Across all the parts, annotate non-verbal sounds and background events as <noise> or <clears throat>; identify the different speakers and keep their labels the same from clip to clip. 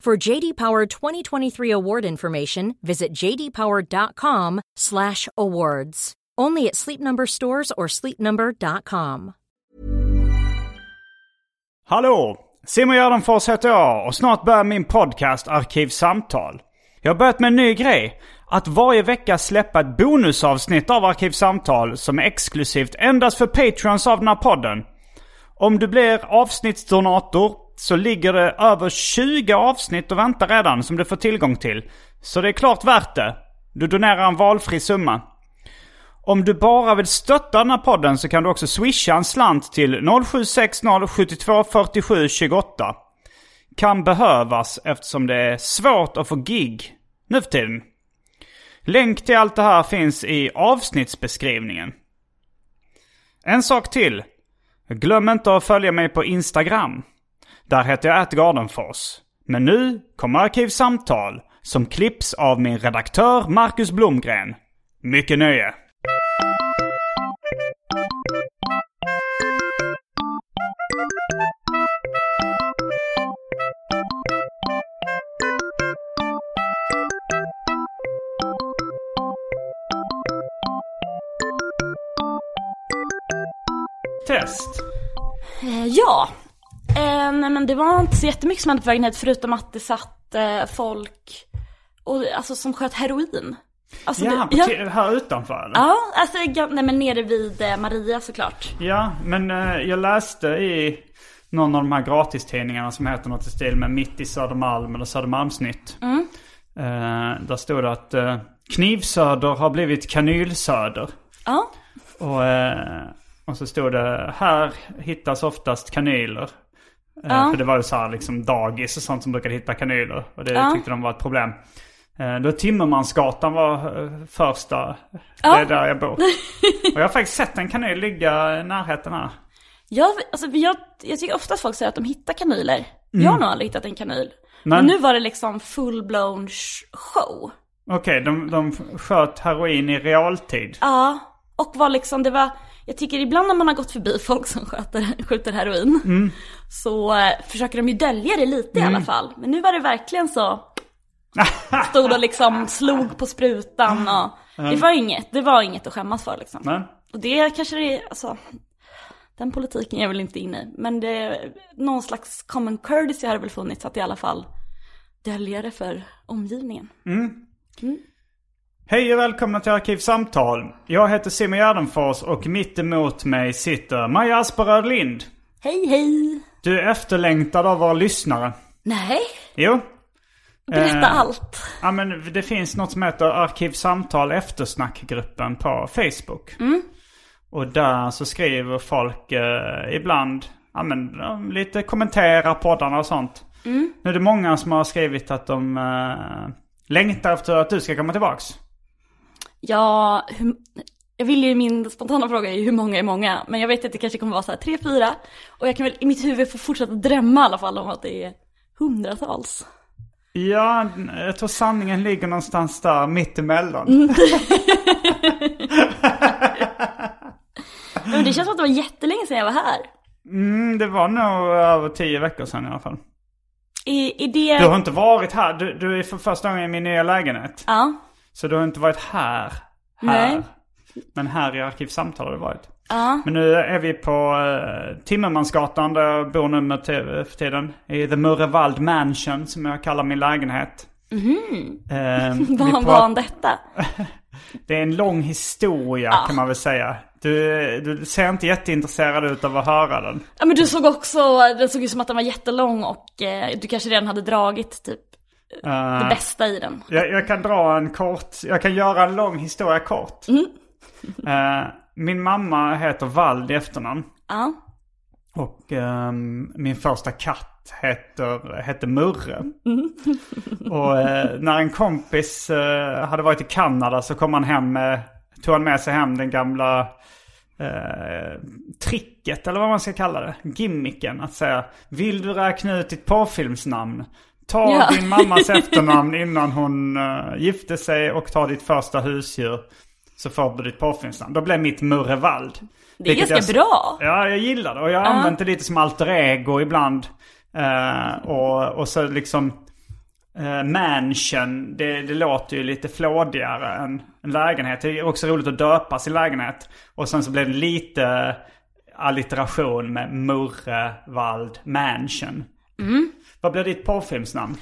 Speaker 1: For JD Power 2023 award information, visit jdpower.com/awards. Only at Sleep Number stores or sleepnumber.com.
Speaker 2: Hallå! Simon Gärdenfors heter jag och snart börjar min podcast Arkivsamtal. Jag har börjat med en ny grej. Att varje vecka släppa ett bonusavsnitt av Arkivsamtal som är exklusivt endast för patreons av den här podden. Om du blir avsnittsdonator så ligger det över 20 avsnitt och väntar redan som du får tillgång till. Så det är klart värt det. Du donerar en valfri summa. Om du bara vill stötta den här podden så kan du också swisha en slant till 0760 72 47 28. Kan behövas eftersom det är svårt att få gig nu för tiden. Länk till allt det här finns i avsnittsbeskrivningen. En sak till. Glöm inte att följa mig på Instagram. Där heter jag atgardenfors. Men nu kommer Arkivsamtal som klipps av min redaktör Marcus Blomgren. Mycket nöje! Test.
Speaker 3: Eh, ja. Eh, nej men det var inte så jättemycket som hände på vägen hit förutom att det satt eh, folk och, alltså, som sköt heroin. Alltså,
Speaker 2: Ja,
Speaker 3: det,
Speaker 2: på
Speaker 3: ja,
Speaker 2: ti- här utanför eller?
Speaker 3: ja, alltså ga- nej men nere vid eh, Maria såklart.
Speaker 2: Ja, men eh, jag läste i någon av de här gratistidningarna som heter något i stil med Mitt i Södermalm eller Södermalmsnytt.
Speaker 3: Mm.
Speaker 2: Eh, där stod det att eh, Knivsöder har blivit Kanylsöder.
Speaker 3: Ja,
Speaker 2: Och, eh, och så stod det här hittas oftast kanyler. Eh,
Speaker 3: Ja.
Speaker 2: För det var ju så här liksom dagis och sånt som brukade hitta kanyler. Och det
Speaker 3: Ja.
Speaker 2: tyckte de var ett problem. Eh, då Timmermansgatan var eh, första. Det
Speaker 3: Ja.
Speaker 2: är där jag bor. och jag har faktiskt sett en kanyl ligga i närheten här.
Speaker 3: jag, alltså, jag, jag tycker ofta att folk säger att de hittar kanyler. Jag
Speaker 2: Mm.
Speaker 3: har nog aldrig hittat en kanyl.
Speaker 2: Men-
Speaker 3: Men nu var det liksom full-blown sh- show.
Speaker 2: Okej, de, de sköt heroin i realtid.
Speaker 3: Ja, och var liksom, det var, jag tycker ibland när man har gått förbi folk som sköter, <laughs> skjuter heroin så eh, försöker de ju dölja det lite i alla fall. Men nu var det verkligen så, stod och liksom slog på sprutan och det var inget, det var inget att skämmas för liksom.
Speaker 2: Men,
Speaker 3: Och det kanske det är, alltså, den politiken är jag väl inte inne i. Men det, någon slags common courtesy har det väl funnits att i alla fall dölja det för omgivningen.
Speaker 2: Hej och välkomna till Arkivsamtal. Jag heter Simon Gärdenfors och mitt emot mig sitter Maja Asperöd Lind.
Speaker 3: Hej hej!
Speaker 2: Du är efterlängtad av våra lyssnare.
Speaker 3: Nej,
Speaker 2: Jo.
Speaker 3: berätta
Speaker 2: Eh,
Speaker 3: allt.
Speaker 2: Ja, men det finns något som heter Arkivsamtal eftersnackgruppen på Facebook. Och där så skriver folk eh, ibland, ja men de lite kommenterar poddarna och sånt. Nu är det många som har skrivit att de eh, längtar efter att du ska komma tillbaks.
Speaker 3: Ja, hur, jag vill ju, min spontana fråga är ju hur många är många? Men jag vet att det kanske kommer vara så här tre, fyra. Och jag kan väl i mitt huvud få fortsätta drömma i alla fall om att det är hundratals.
Speaker 2: Ja, jag tror sanningen ligger någonstans där mittemellan.
Speaker 3: Men det känns som att det var jättelänge sedan jag var här.
Speaker 2: Mm, det var nog över tio veckor sedan i alla fall.
Speaker 3: I, i det...
Speaker 2: Du har inte varit här, du, du är för första gången i min nya lägenhet.
Speaker 3: Ja,
Speaker 2: Så du har inte varit här. här.
Speaker 3: Nej.
Speaker 2: Men här i Arkivsamtal har du varit.
Speaker 3: ja,
Speaker 2: Men nu är vi på eh, Timmermansgatan där jag bor nu med t- för tiden. I The Murrevald Mansion som jag kallar min lägenhet. Eh, vi
Speaker 3: Mhm. <laughs> Vad
Speaker 2: pratar-
Speaker 3: var han detta?
Speaker 2: Det är en lång historia kan man väl säga. Du, du ser inte jätteintresserad ut av att höra den.
Speaker 3: Ja men du såg också, den såg ju som att den var jättelång och eh, du kanske redan hade dragit typ eh, det bästa i den.
Speaker 2: Jag, jag kan dra en kort, jag kan göra en lång historia kort.
Speaker 3: Mhm.
Speaker 2: Eh, min mamma heter Vald i efternamn.
Speaker 3: Ja.
Speaker 2: Och ehm, min första katt heter, hette Murre. och eh, när en kompis eh, hade varit i Kanada så kom han hem, eh, tog han med sig hem den gamla eh, tricket eller vad man ska kalla det. Gimmicken att säga vill du räkna ut ditt parfilmsnamn? Ta
Speaker 3: Ja.
Speaker 2: din mammas efternamn innan hon eh, gifte sig och ta ditt första husdjur. Så får du ditt parfilmsnamn. Då blev mitt Murre Wald.
Speaker 3: Det är ganska bra.
Speaker 2: Ja, jag gillar det. Och jag har använt det lite som alter ego ibland. Eh, och, och så liksom eh, mansion, det, det låter ju lite flådigare än en lägenhet. Det är också roligt att döpa sin lägenhet. Och sen så blev det lite allitteration med Murrevald mansion.
Speaker 3: Mm.
Speaker 2: Vad blir ditt porrfilmsnamn?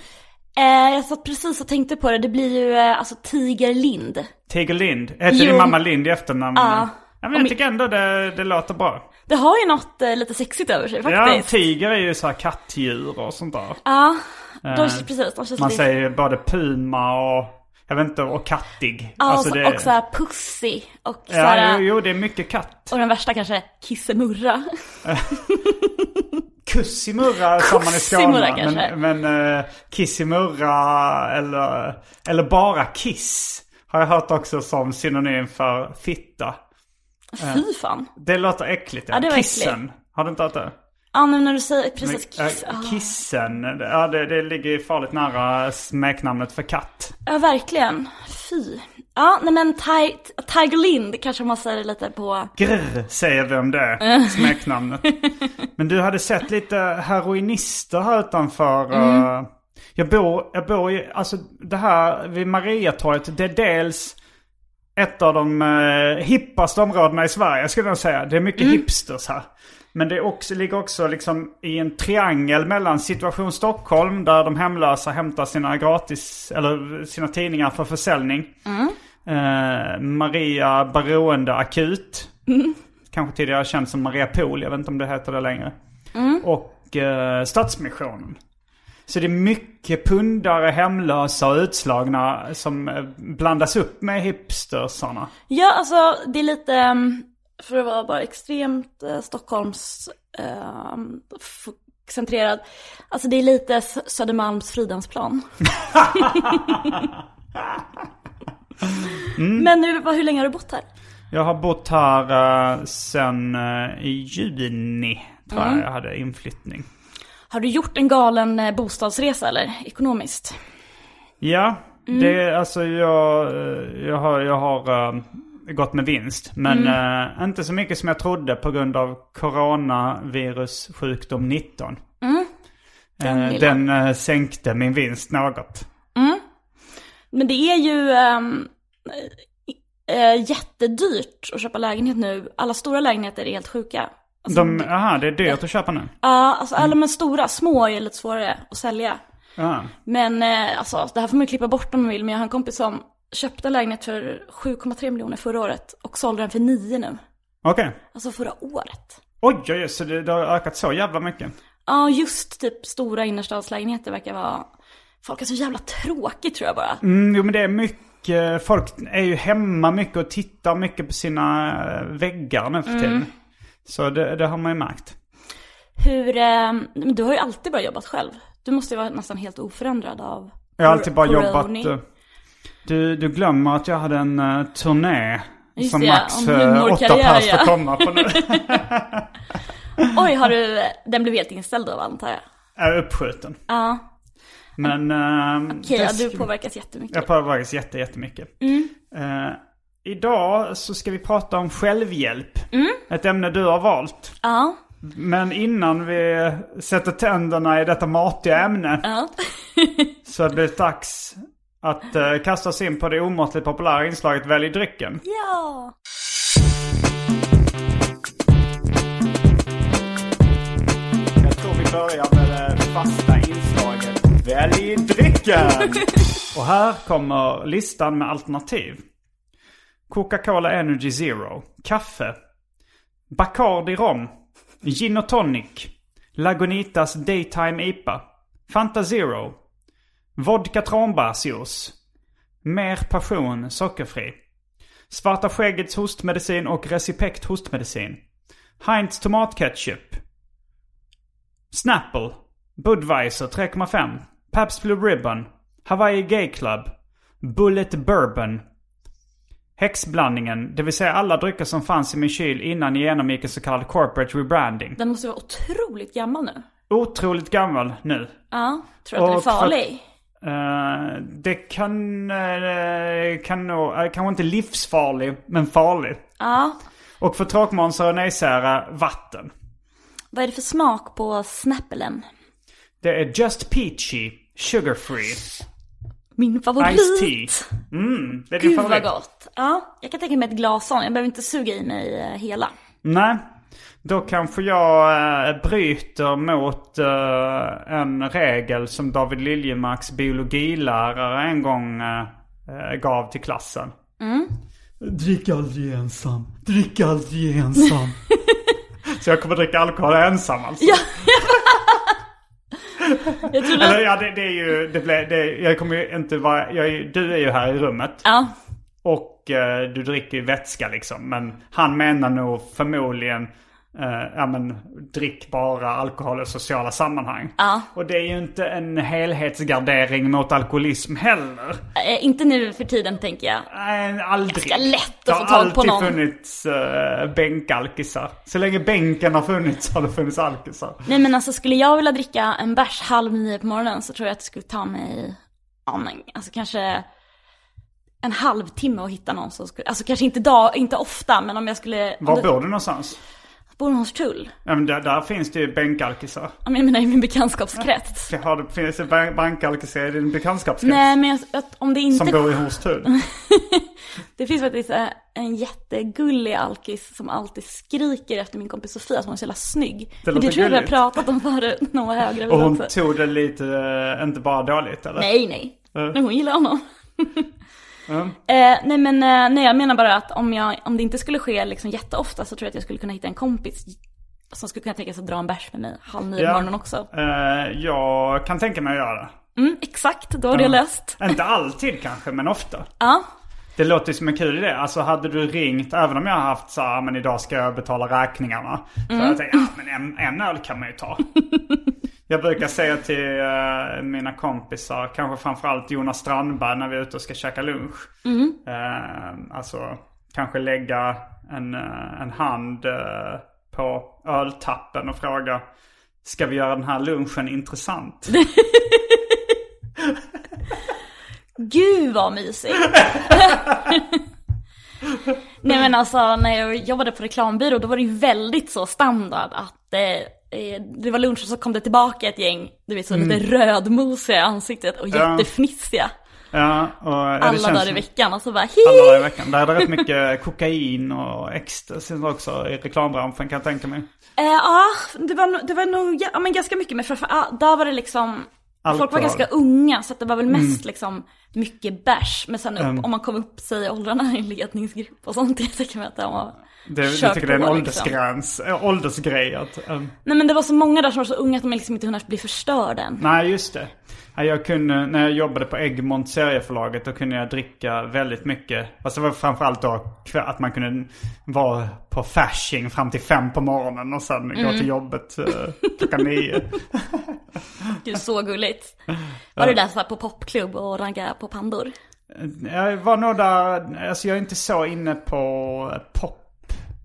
Speaker 3: Eh, jag satt precis och tänkte på det, det blir ju eh, alltså Tigerlind.
Speaker 2: Tiger Lind. Heter
Speaker 3: Jo.
Speaker 2: din mamma Lind i efternamn?
Speaker 3: Ja.
Speaker 2: Ja, men
Speaker 3: Om-
Speaker 2: jag tycker ändå det, det låter bra.
Speaker 3: Det har ju något eh, lite sexigt över sig
Speaker 2: Ja,
Speaker 3: faktiskt.
Speaker 2: tiger är ju så här kattdjur och sånt där.
Speaker 3: Ja, de, precis. De känns
Speaker 2: Man
Speaker 3: lite...
Speaker 2: säger ju både puma och, jag vet inte, och kattig.
Speaker 3: Ja,
Speaker 2: Alltså
Speaker 3: och så-
Speaker 2: det-
Speaker 3: och såhär pussy och
Speaker 2: ja,
Speaker 3: såhär,
Speaker 2: jo, jo, det är mycket katt.
Speaker 3: och den värsta kanske kissemurra.
Speaker 2: Kussimurra sa man i
Speaker 3: Kussimurra
Speaker 2: Skåne.
Speaker 3: kanske.
Speaker 2: Men, men eh, kissimurra eller, eller bara kiss har jag hört också som synonym för fitta.
Speaker 3: Fy fan.
Speaker 2: Det låter äckligt.
Speaker 3: Ja, det var
Speaker 2: Kissen. Har du inte hört det?
Speaker 3: Ja men när du säger precis
Speaker 2: Men,
Speaker 3: kiss.
Speaker 2: eh,
Speaker 3: ah.
Speaker 2: kissen, ja det, det ligger farligt nära smeknamnet för katt.
Speaker 3: Ja verkligen. Fy. Ja nej men Ti- Tiger Lind kanske man säger lite på.
Speaker 2: Grr, säger vem det är, smeknamnet. Men du hade sett lite heroinister här utanför. eh, jag bor, jag bor ju, alltså det här vid Mariatorget, det är dels ett av de eh, hippaste områdena i Sverige skulle jag säga. Det är mycket hipsters här. Men det är också, ligger också liksom i en triangel mellan Situation Stockholm där de hemlösa hämtar sina gratis, eller sina tidningar för försäljning. Eh, Maria Beroende Akut. Kanske tidigare känd som Maria Pool, jag vet inte om det heter det längre. Och eh, Stadsmissionen. Så det är mycket pundare, hemlösa och utslagna som eh, blandas upp med hipstersarna.
Speaker 3: Ja alltså det är lite, ehm, för att vara bara extremt eh, Stockholms ehm, f- centrerad. Alltså det är lite S- Södermalms
Speaker 2: <laughs>
Speaker 3: Fridhemsplan. Men hur, vad- hur länge har du bott här?
Speaker 2: Jag har bott här eh, sen eh, i juni, tror jag jag hade inflyttning.
Speaker 3: Har du gjort en galen eh, bostadsresa eller? Ekonomiskt?
Speaker 2: Ja, det är alltså jag, eh, jag har, jag har eh, gått med vinst. Men eh, inte så mycket som jag trodde på grund av coronavirus sjukdom 19. Mm. Den, eh,
Speaker 3: lilla.
Speaker 2: den eh, sänkte min vinst något.
Speaker 3: Men det är ju ehm, eh, eh, jättedyrt att köpa lägenhet nu. Alla stora lägenheter är helt sjuka. Alltså,
Speaker 2: De, Mm, aha, det är dyrt att köpa nu.
Speaker 3: Ja, alltså alla de stora, små är lite svårare att sälja.
Speaker 2: Ja.
Speaker 3: Men eh, alltså, det här får man ju klippa bort om man vill. Men jag har en kompis som köpte en lägenhet för 7,3 miljoner förra året och sålde den för 9 nu.
Speaker 2: Okej.
Speaker 3: Alltså förra året.
Speaker 2: Oj, oj, oj, så det, det har ökat så jävla mycket.
Speaker 3: Ja, just typ stora innerstadslägenheter verkar vara... Folk är så jävla tråkigt tror jag bara.
Speaker 2: Mm, jo men det är mycket, folk är ju hemma mycket och tittar mycket på sina eh, väggar nu för tiden. Så det, det har man ju märkt.
Speaker 3: Hur, eh, men du har ju alltid bara jobbat själv. Du måste ju vara nästan helt oförändrad av
Speaker 2: Jag har alltid bara
Speaker 3: coroni.
Speaker 2: jobbat... eh, Du, du glömmer att jag hade en eh, turné
Speaker 3: Just
Speaker 2: som
Speaker 3: det,
Speaker 2: max
Speaker 3: om
Speaker 2: eh, åtta
Speaker 3: humorkarriär,
Speaker 2: pers
Speaker 3: ja.
Speaker 2: får komma på
Speaker 3: <laughs>
Speaker 2: nu.
Speaker 3: Oj, har du, den blev helt inställd då antar jag.
Speaker 2: är uppskjuten.
Speaker 3: Ja,
Speaker 2: Men... eh,
Speaker 3: okej,
Speaker 2: det
Speaker 3: ja,
Speaker 2: ska-
Speaker 3: du Mm. påverkas jättemycket.
Speaker 2: Jag påverkas jätte, jättemycket. Eh, idag så ska vi prata om självhjälp.
Speaker 3: Mm.
Speaker 2: Ett ämne du har valt.
Speaker 3: Ja,
Speaker 2: Men innan vi sätter tänderna i detta matiga ämne
Speaker 3: ja.
Speaker 2: så blir det dags att eh, kasta oss in på det omåttligt populära inslaget Välj drycken.
Speaker 3: ja.
Speaker 2: Jag tror vi börjar med det fasta inslaget Välj drycken! Och här kommer listan med alternativ. Coca-Cola Energy Zero. Kaffe. Bacardi Rom. Gin och tonic. Lagunitas Daytime IPA. Fanta Zero. Vodka tranbärsjuice. Mer passion sockerfri. Svarta skäggets hostmedicin och Recipekt hostmedicin. Heinz tomatketchup. Snapple. Budweiser 3,5. Pabst Blue Ribbon. Hawaii Gay Club. Bullet Bourbon. Häxblandningen, det vill säga alla drycker som fanns i min kyl innan jag genomgick en så kallad corporate rebranding.
Speaker 3: Den måste vara otroligt gammal nu.
Speaker 2: Otroligt gammal nu.
Speaker 3: Ja, tror du att den är
Speaker 2: Och för-
Speaker 3: farlig?
Speaker 2: Eh, det kan, eh, kan nog, eh, kanske inte livsfarlig, men farlig.
Speaker 3: Ja.
Speaker 2: Och för tråkmånsar och nejsära, vatten.
Speaker 3: Vad är det för smak på snappelen?
Speaker 2: Det är Just Peachy, Sugar Free,
Speaker 3: Min favorit!
Speaker 2: Ice Tea. Mm, det är din
Speaker 3: Gud vad
Speaker 2: favorit.
Speaker 3: gott! Ja, jag kan tänka mig ett glas sån. Jag behöver inte suga i mig eh, hela.
Speaker 2: Nej, då kanske jag eh, bryter mot eh, en regel som David Liljemarks biologilärare en gång eh, eh, gav till klassen. Drick aldrig ensam, drick aldrig ensam. <laughs> Så jag kommer dricka alkohol ensam alltså?
Speaker 3: Ja. <laughs> jag trodde
Speaker 2: Eller,
Speaker 3: att...
Speaker 2: ja, det, det är ju, det blir, det, jag kommer ju inte vara, jag, är ju- du är ju här i rummet.
Speaker 3: Ja,
Speaker 2: Och eh, du dricker ju vätska liksom. Men han menar nog förmodligen, eh, ja men drick bara alkohol i sociala sammanhang. Och det är ju inte en helhetsgardering mot alkoholism heller.
Speaker 3: eh, inte nu för tiden tänker jag.
Speaker 2: Nej, aldrig.
Speaker 3: Ganska lätt
Speaker 2: Det
Speaker 3: att
Speaker 2: har
Speaker 3: få tag på
Speaker 2: alltid
Speaker 3: någon.
Speaker 2: funnits eh, bänkalkisar. Så länge bänken har funnits har det funnits alkisar.
Speaker 3: Nej men alltså skulle jag vilja dricka en bärs halv nio på morgonen så tror jag att det skulle ta mig, ja men alltså kanske en halvtimme att hitta någon som skulle, alltså kanske inte, dag, inte ofta men om jag skulle... om
Speaker 2: Var
Speaker 3: det-
Speaker 2: bor du någonstans?
Speaker 3: Bor hos Tull?
Speaker 2: Ja, men där, där finns det ju bänkalkisar.
Speaker 3: Ja, men Jag menar i min bekantskapskrets.
Speaker 2: Har du, finns det bän- bänkalkisar i din bekantskapskrets?
Speaker 3: Nej men jag, att om det inte...
Speaker 2: Som bor i Hornstull?
Speaker 3: <laughs> Det finns faktiskt eh, en jättegullig alkis som alltid skriker efter min kompis Sofia att hon är så jävla snygg.
Speaker 2: Det
Speaker 3: Men Det
Speaker 2: låter
Speaker 3: tror jag vi har
Speaker 2: gulligt.
Speaker 3: pratat om förut när hon var höggravid
Speaker 2: Och hon
Speaker 3: <laughs> också.
Speaker 2: tog det lite, eh, inte bara dåligt eller?
Speaker 3: Nej, nej. Men hon gillar honom. <laughs> Eh, nej men eh, nej, jag menar bara att om, jag, om det inte skulle ske liksom jätteofta så tror jag att jag skulle kunna hitta en kompis som skulle kunna tänka sig att dra en bärs med mig halv nio på
Speaker 2: Ja.
Speaker 3: morgonen också.
Speaker 2: Eh, jag kan tänka mig att göra det.
Speaker 3: Mm, exakt, då har det löst. <laughs>
Speaker 2: Inte alltid kanske, men ofta.
Speaker 3: Ja,
Speaker 2: Det låter ju som en kul idé. Alltså hade du ringt, även om jag har haft så här, "Ah, men idag ska jag betala räkningarna. Så
Speaker 3: Mm.
Speaker 2: jag tänkte, ja men en, en öl kan man ju
Speaker 3: <laughs>
Speaker 2: ta. jag brukar säga till eh, mina kompisar, kanske framförallt Jonas Strandberg när vi är ute och ska käka lunch.
Speaker 3: Mm.
Speaker 2: Eh, alltså kanske lägga en, eh, en hand eh, på öltappen och fråga, ska vi göra den här lunchen intressant?
Speaker 3: <laughs> gud vad mysigt. <laughs> nej men alltså när jag jobbade på reklambyrå då var det ju väldigt så standard att eh, eh, det var lunch och så kom det tillbaka ett gäng, du vet så lite rödmosiga i ansiktet och jättefnissiga.
Speaker 2: Ja, och, ja, det
Speaker 3: Alla
Speaker 2: känns
Speaker 3: dagar i
Speaker 2: som-
Speaker 3: veckan och så bara
Speaker 2: alla dagar i
Speaker 3: hi!
Speaker 2: veckan. Där är det rätt mycket kokain och ecstasy också i reklambranschen kan jag tänka mig.
Speaker 3: Eh, Ja, det var, nog- det var nog ja, men ganska mycket men framförallt, där var det liksom Folk var
Speaker 2: Alkohol.
Speaker 3: ganska unga så att det var väl
Speaker 2: Mm.
Speaker 3: mest liksom mycket bärs. Men sen upp, om man kom upp sig i åldrarna i en ledningsgrupp och sånt. <laughs> Jag tänker mig att det var...
Speaker 2: Det,
Speaker 3: Kör
Speaker 2: jag tycker det är en
Speaker 3: på, liksom.
Speaker 2: åldersgräns, äh, åldersgrej att... ehm,
Speaker 3: Nej men det var så många där som var så unga att de liksom inte hunnit bli förstörda än.
Speaker 2: nej, just det. Ja, Jag kunde, när jag jobbade på Egmont serieförlaget då kunde jag dricka väldigt mycket. Fast det var framförallt då kväll- att man kunde vara på Fasching fram till fem på morgonen och sen
Speaker 3: Mm.
Speaker 2: gå till jobbet eh, klockan nio.
Speaker 3: Gud
Speaker 2: <laughs>
Speaker 3: så gulligt. Var du där så här på popklubb och ragga på pandor?
Speaker 2: Jag var nog där, alltså jag är inte så inne på eh, pop.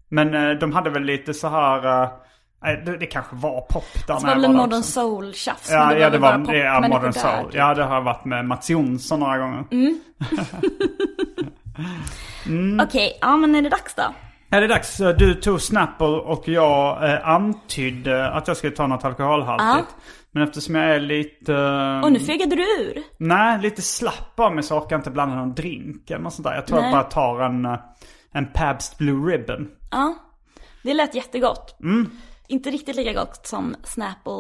Speaker 2: Men eh, de hade väl lite så här, eh, nej, det, det kanske var pop där när
Speaker 3: Så var
Speaker 2: jag där
Speaker 3: väl en Alltså, modern
Speaker 2: också.
Speaker 3: soul-tjafs? men
Speaker 2: Ja, ja, det
Speaker 3: väl bara
Speaker 2: var ja,
Speaker 3: popmänniskor
Speaker 2: Modern
Speaker 3: där, Mm.
Speaker 2: Soul.
Speaker 3: typ.
Speaker 2: Ja, det har jag varit med Mats Jonsson några gånger.
Speaker 3: Okej, ja men är det dags då?
Speaker 2: Är det dags? eh, Du tog Snapple och jag eh, antydde att jag skulle ta något alkoholhaltigt. Men eftersom jag är lite... eh,
Speaker 3: Och nu fegade du ur.
Speaker 2: Nej, lite slapp av mig så orkar jag inte blanda någon drink eller något sånt där. Jag tror
Speaker 3: Nej.
Speaker 2: jag bara tar en, eh, en Pabst Blue Ribbon. Mm.
Speaker 3: Ja, det lät jättegott. Inte riktigt lika gott som Snapple,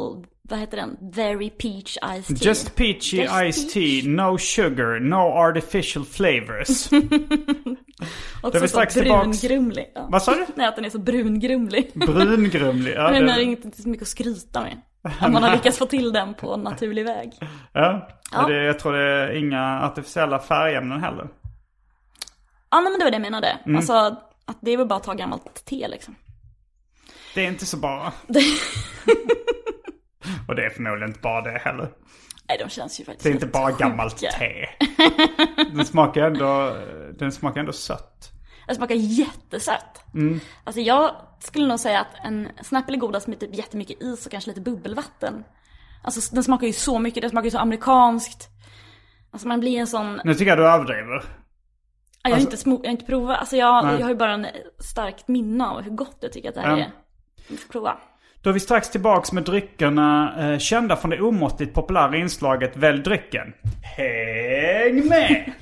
Speaker 3: vad heter den? Very Peach Ice Tea.
Speaker 2: Just peachy
Speaker 3: Just
Speaker 2: iced tea,
Speaker 3: peach.
Speaker 2: no sugar, no artificial flavors. <laughs>
Speaker 3: Också
Speaker 2: Det är väl
Speaker 3: så
Speaker 2: strax tillbaks-
Speaker 3: brungrumlig. Ja.
Speaker 2: Vad sa du?
Speaker 3: Nej, att den är
Speaker 2: <laughs>
Speaker 3: så brungrumlig.
Speaker 2: Brungrumlig. Ja,
Speaker 3: Men <laughs> den är
Speaker 2: det-
Speaker 3: inte så mycket att skryta
Speaker 2: <laughs>
Speaker 3: med. Att man har lyckats få till den på en naturlig väg.
Speaker 2: Ja.
Speaker 3: Ja.
Speaker 2: Det, jag tror det är inga artificiella färgämnen heller.
Speaker 3: Ja, nej, men det var det jag menade.
Speaker 2: Mm.
Speaker 3: Alltså, att det är väl bara att ta gammalt te liksom.
Speaker 2: Det är inte så bara. <laughs> Och det är förmodligen inte bara det heller.
Speaker 3: Nej, de känns ju faktiskt
Speaker 2: Det är inte
Speaker 3: helt
Speaker 2: bara gammalt
Speaker 3: sjuka.
Speaker 2: te. Den smakar ändå, den smakar ändå sött.
Speaker 3: Den smakar jättesött.
Speaker 2: Mm.
Speaker 3: Alltså jag skulle nog säga att en snapple är godast med typ jättemycket is och kanske lite bubbelvatten. Alltså den smakar ju så mycket, den smakar ju så amerikanskt. Alltså man blir en sån,
Speaker 2: Nu tycker jag du överdriver.
Speaker 3: jag har inte, smo- jag har inte provat, alltså jag,
Speaker 2: Nej.
Speaker 3: jag har ju bara en starkt minne av hur gott jag tycker att det här
Speaker 2: Ja.
Speaker 3: är. Vi får prova.
Speaker 2: Då är vi strax tillbaks med dryckerna eh, kända från det omåttligt populära inslaget Välj drycken. Häng med!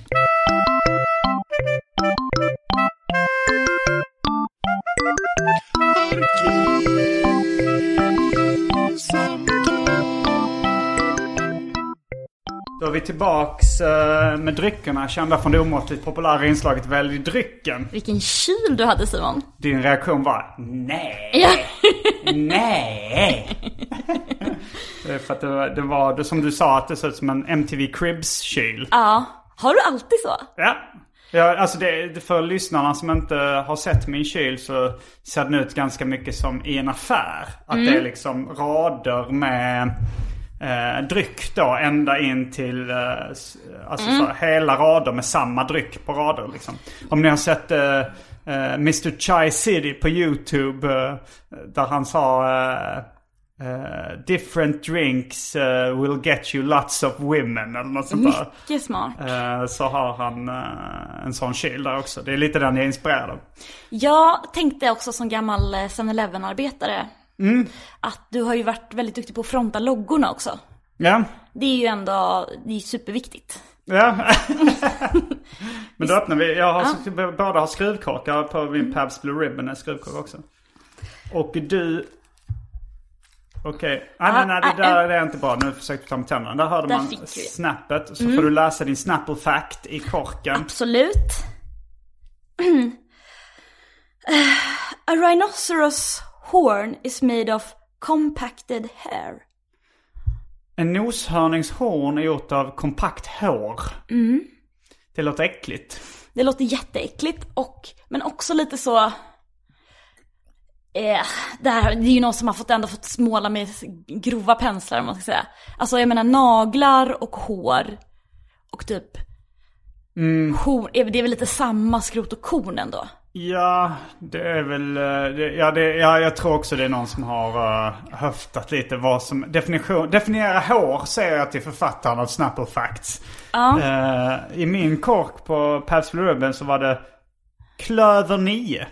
Speaker 2: Då är vi tillbaks eh, med dryckerna kända från det omåttligt populära inslaget Välj drycken.
Speaker 3: Vilken kyl du hade Simon.
Speaker 2: Din reaktion var nej.
Speaker 3: Ja.
Speaker 2: <laughs> Nej! Det är Eh, för att det var, det var det som du sa, att det såg ut som en MTV Cribs-kyl.
Speaker 3: <laughs> ja. Har du alltid så?
Speaker 2: Ja. ja alltså det, det- för lyssnarna som inte har sett min kyl så ser den ut ganska mycket som i en affär. Att det är liksom rader med eh, dryck då ända in till eh, s- alltså så här, hela rader med samma dryck på rader liksom. Om ni har sett eh, eh, Mr Chai City på YouTube eh, där han sa eh, eh, different drinks eh, will get you lots of women eller något sånt där.
Speaker 3: Mycket smart.
Speaker 2: Eh, Så har han eh, en sån kyl där också. Det är lite den jag är inspirerad av.
Speaker 3: Jag tänkte också som gammal eh, 7-Eleven-arbetare
Speaker 2: Mm.
Speaker 3: att du har ju varit väldigt duktig på att fronta loggorna också.
Speaker 2: Ja.
Speaker 3: Det är ju ändå, det är ju superviktigt. <laughs>
Speaker 2: ja. Men då öppnar vi. Jag har, Båda har skruvkaka. Jag har På min Pabst Blue Ribbon är skruvkaka också. Och du... Okej. Ah, nej, nej, det
Speaker 3: ah,
Speaker 2: där det är inte bra. Nu försökte jag ta med tänderna. Där hörde
Speaker 3: Där
Speaker 2: man
Speaker 3: fick vi. Mm.
Speaker 2: snappet. Så får du läsa din snapple fact i korken.
Speaker 3: Absolut. <clears throat> A rhinoceros horn is made of compacted hair.
Speaker 2: En noshörningshorn är gjort av kompakt hår.
Speaker 3: Mm.
Speaker 2: Det låter äckligt.
Speaker 3: Det låter jätteäckligt och, men också lite så... Eh, det, här, det är ju någon som har fått, ändå fått måla med grova penslar om man ska säga. Alltså jag menar naglar och hår och typ...
Speaker 2: Mm.
Speaker 3: Horn, är- det är väl lite samma skrot och korn ändå?
Speaker 2: Ja, det är väl... eh, det- Ja, det, ja, jag tror också det är någon som har eh, höftat lite vad som... Definition, definiera hår säger jag till författaren av Snapple Facts. Eh, I min kork på Pabst Blue Ribbon så var det klöver 9.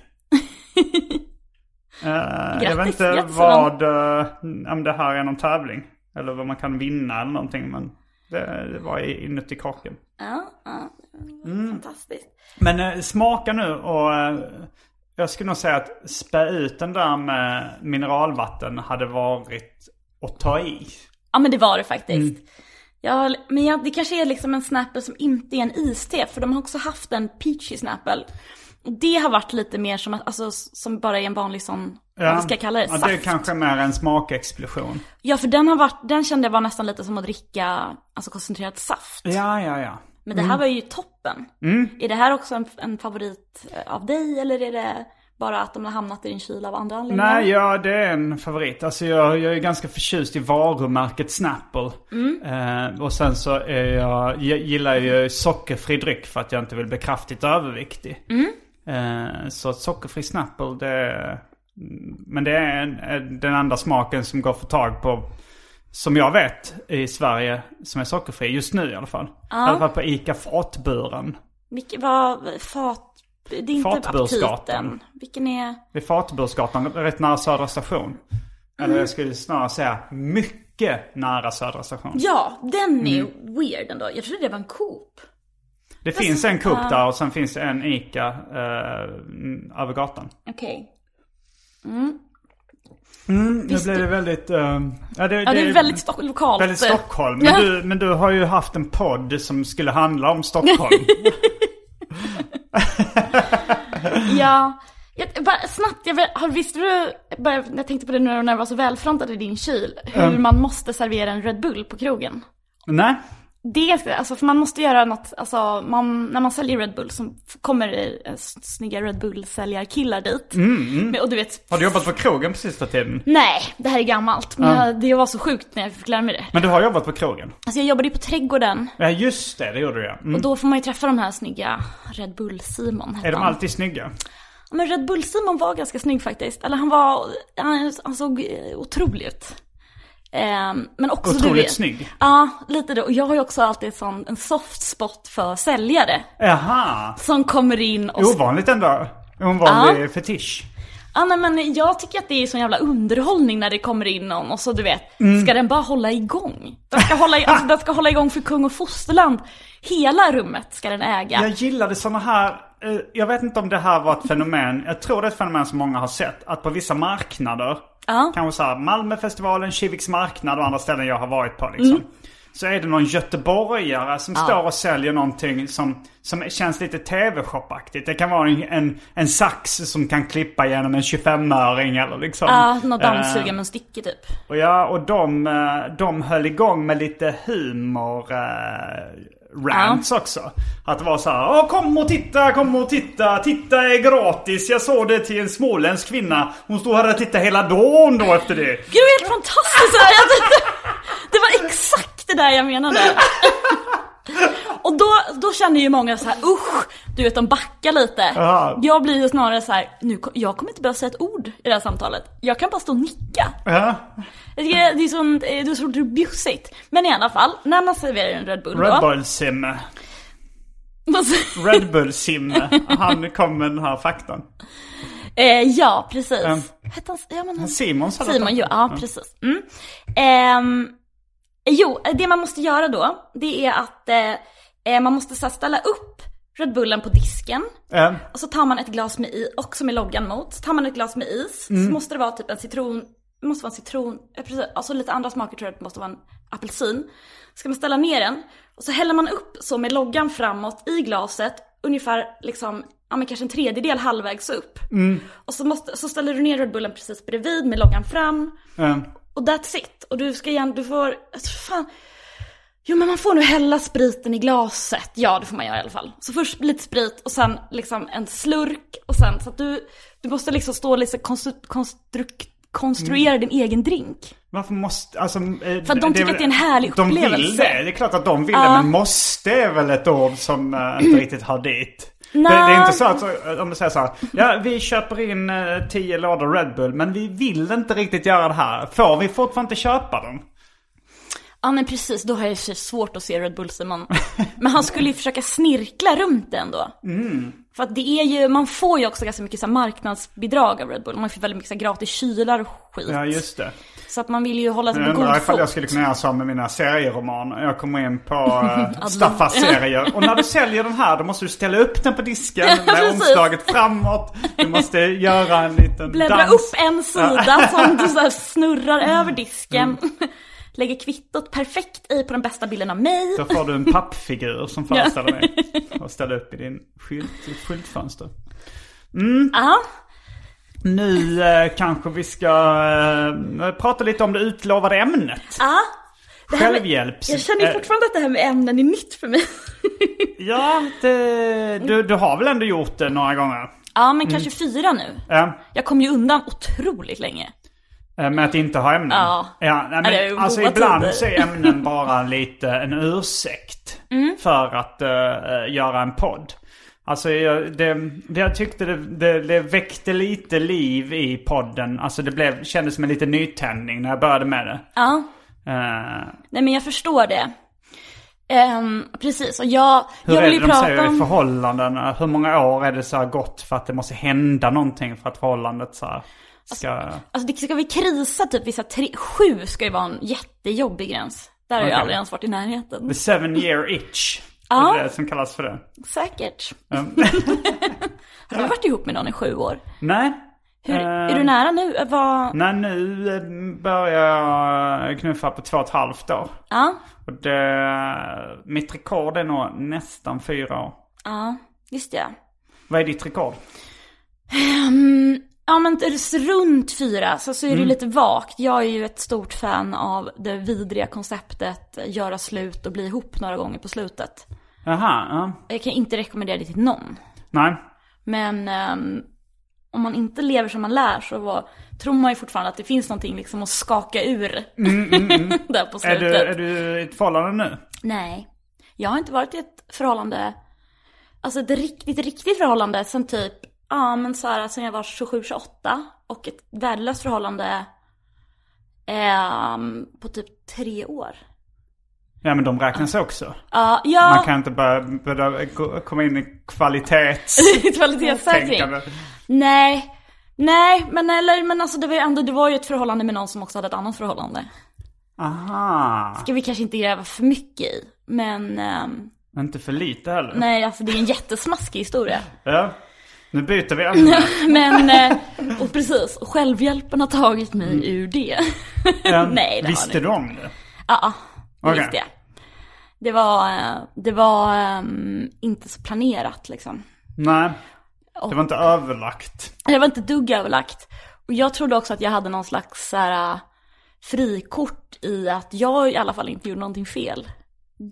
Speaker 2: jag vet
Speaker 3: Grattis,
Speaker 2: inte
Speaker 3: grattis,
Speaker 2: vad... eh, om det här är någon tävling. Eller vad man kan vinna eller någonting. Men det, det var i- inuti korken.
Speaker 3: Ja, ja. fantastiskt.
Speaker 2: Men eh, smaka nu och eh, jag skulle nog säga att spä ut den där med mineralvatten hade varit att ta i.
Speaker 3: Ja men det var det faktiskt.
Speaker 2: Mm.
Speaker 3: Ja, men jag, det kanske är liksom en snapple som inte är en iste, för de har också haft en peachy snapple. Och det har varit lite mer som, att- alltså, som bara är en vanlig sån, vad vi ska kalla det,
Speaker 2: ja,
Speaker 3: saft.
Speaker 2: det är kanske mer en smakexplosion.
Speaker 3: Ja för den har varit, den kände jag var nästan lite som att dricka, alltså koncentrerat saft.
Speaker 2: Ja, ja, ja.
Speaker 3: Men det här var
Speaker 2: Mm.
Speaker 3: ju toppen. Är det här också en, en favorit eh, av dig eller är det bara att de har hamnat i din kyl av andra anledningar?
Speaker 2: Nej, ja det är en favorit. Alltså jag, jag är ganska förtjust i varumärket Snapple. Eh, och sen så är jag, jag gillar ju sockerfri dryck för att jag inte vill bli kraftigt överviktig. Eh, så sockerfri Snapple det är, mm, Men det är en, en- den enda smaken som går att få tag på som jag vet i Sverige som är sockerfri just nu i alla fall. I alla fall på ICA Fatburen.
Speaker 3: Vilket var, fat, det är inte
Speaker 2: Fatbursgatan.
Speaker 3: aptiten. Vilken är?
Speaker 2: Vid Fatubursgatan, rätt nära Södra station. Eller jag skulle snarare säga mycket nära Södra station.
Speaker 3: Ja, den är ju weird ändå. Jag trodde det var en Coop.
Speaker 2: Det
Speaker 3: Alltså,
Speaker 2: finns en Coop där och sen finns det
Speaker 3: Mm,
Speaker 2: en ICA eh, över gatan.
Speaker 3: Okej.
Speaker 2: Nu blir det väldigt... eh, ja, det,
Speaker 3: Ja, det är väldigt sto- lokalt.
Speaker 2: väldigt Stockholm. Men,
Speaker 3: Ja.
Speaker 2: du, men du har ju haft en podd som skulle handla om
Speaker 3: <laughs>
Speaker 2: Stockholm.
Speaker 3: <laughs> Ja. Jag, bara, snabbt, jag, vet- har- visste du, bara, jag tänkte på det nu när jag var så välfrontad i din kyl, hur
Speaker 2: Mm.
Speaker 3: man måste servera en Red Bull på krogen.
Speaker 2: Nej.
Speaker 3: Det, alltså, för man måste göra något, alltså, man, när man säljer Red Bull så kommer det eh, s- snygga Red Bull-säljarkillar dit. Men, och du vet,
Speaker 2: Mm, Har du jobbat på krogen på sista tiden?
Speaker 3: nej, det här är gammalt. Men jag, det var så sjukt när jag fick lära mig det.
Speaker 2: Men du har jobbat på krogen?
Speaker 3: Alltså jag jobbade ju på trädgården
Speaker 2: Ja just det, det gjorde du ja. Mm.
Speaker 3: och då får man ju träffa de här snygga Red Bull-Simon.
Speaker 2: Är de alltid snygga?
Speaker 3: Ja, Men Red Bull-Simon var ganska snygg faktiskt. Eller han var, han, han såg eh, otrolig ut. Ehm, men också du
Speaker 2: Otroligt
Speaker 3: vet-
Speaker 2: snygg.
Speaker 3: Ja, lite det. Och jag har ju också alltid en sån, en soft spot för säljare.
Speaker 2: Jaha.
Speaker 3: Som kommer in och...
Speaker 2: Ovanligt ändå. Ovanlig fetisch.
Speaker 3: Ja, nej, men jag tycker att det är sån jävla underhållning när det kommer in någon och så du vet,
Speaker 2: Mm.
Speaker 3: ska den bara hålla igång? Den
Speaker 2: <laughs>
Speaker 3: ska hålla, i- alltså, den ska hålla igång för kung och fosterland. Hela rummet ska den äga.
Speaker 2: Jag gillade sådana här, eh, jag vet inte om det här var ett fenomen, jag tror det är ett fenomen som många har sett, att på vissa marknader,
Speaker 3: Ja.
Speaker 2: kanske såhär Malmöfestivalen, Kiviks marknad och andra ställen jag har varit på liksom.
Speaker 3: Mm.
Speaker 2: Så är det någon göteborgare som står och säljer någonting som, som känns lite tv-shopaktigt. Det kan vara en, en, en sax som kan klippa genom en 25-öring eller liksom.
Speaker 3: Ja, något
Speaker 2: Eh,
Speaker 3: dammsugarmunstycke typ.
Speaker 2: och ja, och de, eh, de höll igång med lite humor eh, rants också. Att det var så här, Åh, kom och titta, kom och titta, titta är gratis. Jag såg det till en småländsk kvinna. Hon stod här och tittade hela dagen då efter det.
Speaker 3: Gud det var helt fantastiskt! Det, här. Det, det var exakt det där jag menade. Och då, då kände ju många så här, usch, du vet de backar lite.
Speaker 2: Ja.
Speaker 3: Jag blir ju snarare så här, nu, ko- jag kommer inte behöva säga ett ord i det här samtalet. Jag kan bara stå och nicka.
Speaker 2: Ja,
Speaker 3: Jag tycker Det är sånt, eh, det är så bjussigt. Men i alla fall, när man serverar en Red Bull
Speaker 2: Red
Speaker 3: då.
Speaker 2: Bull Sim.
Speaker 3: Man ser-
Speaker 2: Red Bull Sim. Han kom med den här faktan.
Speaker 3: Eh, ja, precis.
Speaker 2: Ehm.
Speaker 3: Hette han, ja, men han,
Speaker 2: Simon sa detta.
Speaker 3: Simon, jo, ja precis. Mm. Ehm, jo, det man måste göra då, det är att eh, eh, man måste så här, ställa upp Red Bullen på disken.
Speaker 2: Eh,
Speaker 3: Och så tar man ett glas med is, också med loggan mot. Så tar man ett glas med is, så måste det vara typ en citron, det måste vara en citron, eh, precis, alltså lite andra smaker tror jag att det måste vara en apelsin. Ska man ställa ner den och så häller man upp så med loggan framåt i glaset, ungefär liksom, ja men kanske en tredjedel halvvägs upp. Och så, måste, så ställer du ner Red Bullen precis bredvid med loggan fram.
Speaker 2: eh.
Speaker 3: Och that's it. Och du ska igen, du får, alltså, fan. Jo men man får nu hälla spriten i glaset. Ja det får man göra i alla fall. Så först lite sprit och sen liksom en slurk och sen så att du, du måste liksom stå och liksom konstru- konstruk- konstruera
Speaker 2: Mm.
Speaker 3: din egen drink.
Speaker 2: Varför måste, alltså... För
Speaker 3: att de tycker att det är en härlig
Speaker 2: De vill
Speaker 3: upplevelse.
Speaker 2: det, det är klart att de vill det. Men måste är väl ett ord som eh,
Speaker 3: Mm.
Speaker 2: inte riktigt hör dit. Det, det är inte så att, eh, om du säger så här, ja vi köper in eh, tio lådor Red Bull men vi vill inte riktigt göra det här. Får vi fortfarande inte köpa dem?
Speaker 3: Ja men precis, då har jag ju så svårt att se Red
Speaker 2: <laughs>
Speaker 3: Bull Simon. Men han skulle ju försöka snirkla runt det ändå.
Speaker 2: Mm.
Speaker 3: För att det är ju, man får ju också ganska mycket så här marknadsbidrag av Red Bull. Man får väldigt mycket så här gratis kylar och skit.
Speaker 2: Ja just det.
Speaker 3: Så att man vill ju hålla sig
Speaker 2: Jag
Speaker 3: på
Speaker 2: undrar
Speaker 3: god
Speaker 2: ifall
Speaker 3: fot.
Speaker 2: jag skulle kunna göra så med mina serieromaner. Jag kommer in
Speaker 3: <laughs>
Speaker 2: på uh, Staffas serier. Och när du säljer den här då måste du ställa upp den på disken med
Speaker 3: precis.
Speaker 2: omslaget framåt. Du måste göra en liten
Speaker 3: Bläddra
Speaker 2: dans.
Speaker 3: upp en sida som du
Speaker 2: <laughs>
Speaker 3: så här snurrar över disken.
Speaker 2: Mm.
Speaker 3: <laughs> Lägger kvittot perfekt i på den bästa bilden av mig.
Speaker 2: Då får du en pappfigur som föreställer mig. Och ställer upp i din skylt, ditt skyltfönster.
Speaker 3: Ja,
Speaker 2: Nu eh, kanske vi ska eh, prata lite om det utlovade ämnet.
Speaker 3: ja. Det här med-
Speaker 2: Självhjälps...
Speaker 3: Jag känner ju
Speaker 2: eh,
Speaker 3: fortfarande att det här med ämnen är nytt
Speaker 2: <laughs>
Speaker 3: för mig.
Speaker 2: Ja, det, du, du har väl ändå gjort det några gånger?
Speaker 3: Ja,
Speaker 2: Mm.
Speaker 3: men kanske fyra nu.
Speaker 2: Eh, eh,
Speaker 3: Jag kom ju undan otroligt länge.
Speaker 2: Med att inte ha ämnen?
Speaker 3: Ja.
Speaker 2: ja nej,
Speaker 3: Ja, det är ju
Speaker 2: men, alltså
Speaker 3: goda
Speaker 2: ibland
Speaker 3: tider. <laughs> Mm.
Speaker 2: så är ämnen bara lite en ursäkt för att eh, eh, göra en podd. Alltså jag, det, det, jag tyckte det, det, det väckte lite liv i podden. Alltså det blev, kändes som en liten nytändning när jag började med det.
Speaker 3: Ja,
Speaker 2: Eh,
Speaker 3: nej men jag förstår det. Ehm, precis, och jag,
Speaker 2: Hur
Speaker 3: jag
Speaker 2: är
Speaker 3: vill
Speaker 2: det
Speaker 3: ju
Speaker 2: de säger
Speaker 3: prata om...
Speaker 2: i förhållanden? Hur många år är det så här gott för att det måste hända någonting för att förhållandet så här ska...
Speaker 3: Alltså det ska vi krisa typ vissa tre, sju ska ju vara en jättejobbig gräns. Där har jag
Speaker 2: Okej.
Speaker 3: aldrig ens varit i närheten.
Speaker 2: The seven year itch.
Speaker 3: Ja.
Speaker 2: Det är det som kallas för det.
Speaker 3: <laughs> Säkert. har du varit ihop med någon i sju år?
Speaker 2: Nej,
Speaker 3: Hur, är
Speaker 2: Eh.
Speaker 3: du nära nu? Eh, Vad...
Speaker 2: Nej, nu eh, börjar jag knuffa på två och ett halvt år.
Speaker 3: Ja,
Speaker 2: Och det, mitt rekord är nog nästan fyra år.
Speaker 3: ja, just det.
Speaker 2: Vad är ditt rekord?
Speaker 3: Mm, Ja men t- runt fyra så, så är
Speaker 2: Mm.
Speaker 3: det ju lite vagt. Jag är ju ett stort fan av det vidriga konceptet göra slut och bli ihop några gånger på slutet.
Speaker 2: Jaha, ja.
Speaker 3: Jag kan inte rekommendera det till någon.
Speaker 2: Nej.
Speaker 3: Men ehm, om man inte lever som man lär så var, tror man ju fortfarande att det finns någonting liksom att skaka ur <laughs> där på
Speaker 2: Mm, Är
Speaker 3: slutet.
Speaker 2: du, är du i ett förhållande nu?
Speaker 3: Nej, jag har inte varit i ett förhållande, alltså ett riktigt, riktigt förhållande sen typ, ja men så här, sen jag var 27-28 och ett värdelöst förhållande ehm, på typ tre år.
Speaker 2: Ja, men de räknas också.
Speaker 3: Ja,
Speaker 2: Man
Speaker 3: ja, <laughs>
Speaker 2: kan inte börja, börja gå- komma in i kvalitets...
Speaker 3: kvalitetssäkring.
Speaker 2: tänkande.
Speaker 3: Nej, nej, men eller, men alltså det var ju ändå, det var ju ett förhållande med någon som också hade ett annat förhållande.
Speaker 2: Aha.
Speaker 3: Ska vi kanske inte gräva för mycket i, men ehm,
Speaker 2: Inte för lite heller.
Speaker 3: nej, alltså det är en jättesmaskig historia.
Speaker 2: Ja. Nu byter vi
Speaker 3: <laughs>
Speaker 2: ämne.
Speaker 3: Men, eh, och precis, och självhjälpen har tagit mig ur det. Nej, det
Speaker 2: Visste
Speaker 3: har
Speaker 2: du om det?
Speaker 3: Ja, ah, det
Speaker 2: Okej.
Speaker 3: visste jag. Det var, eh, det var ehm, inte så planerat liksom.
Speaker 2: Nej. Det var inte överlagt.
Speaker 3: Det var inte dugg överlagt. Och jag trodde också att jag hade någon slags så här, eh, frikort i att jag i alla fall inte gjorde någonting fel.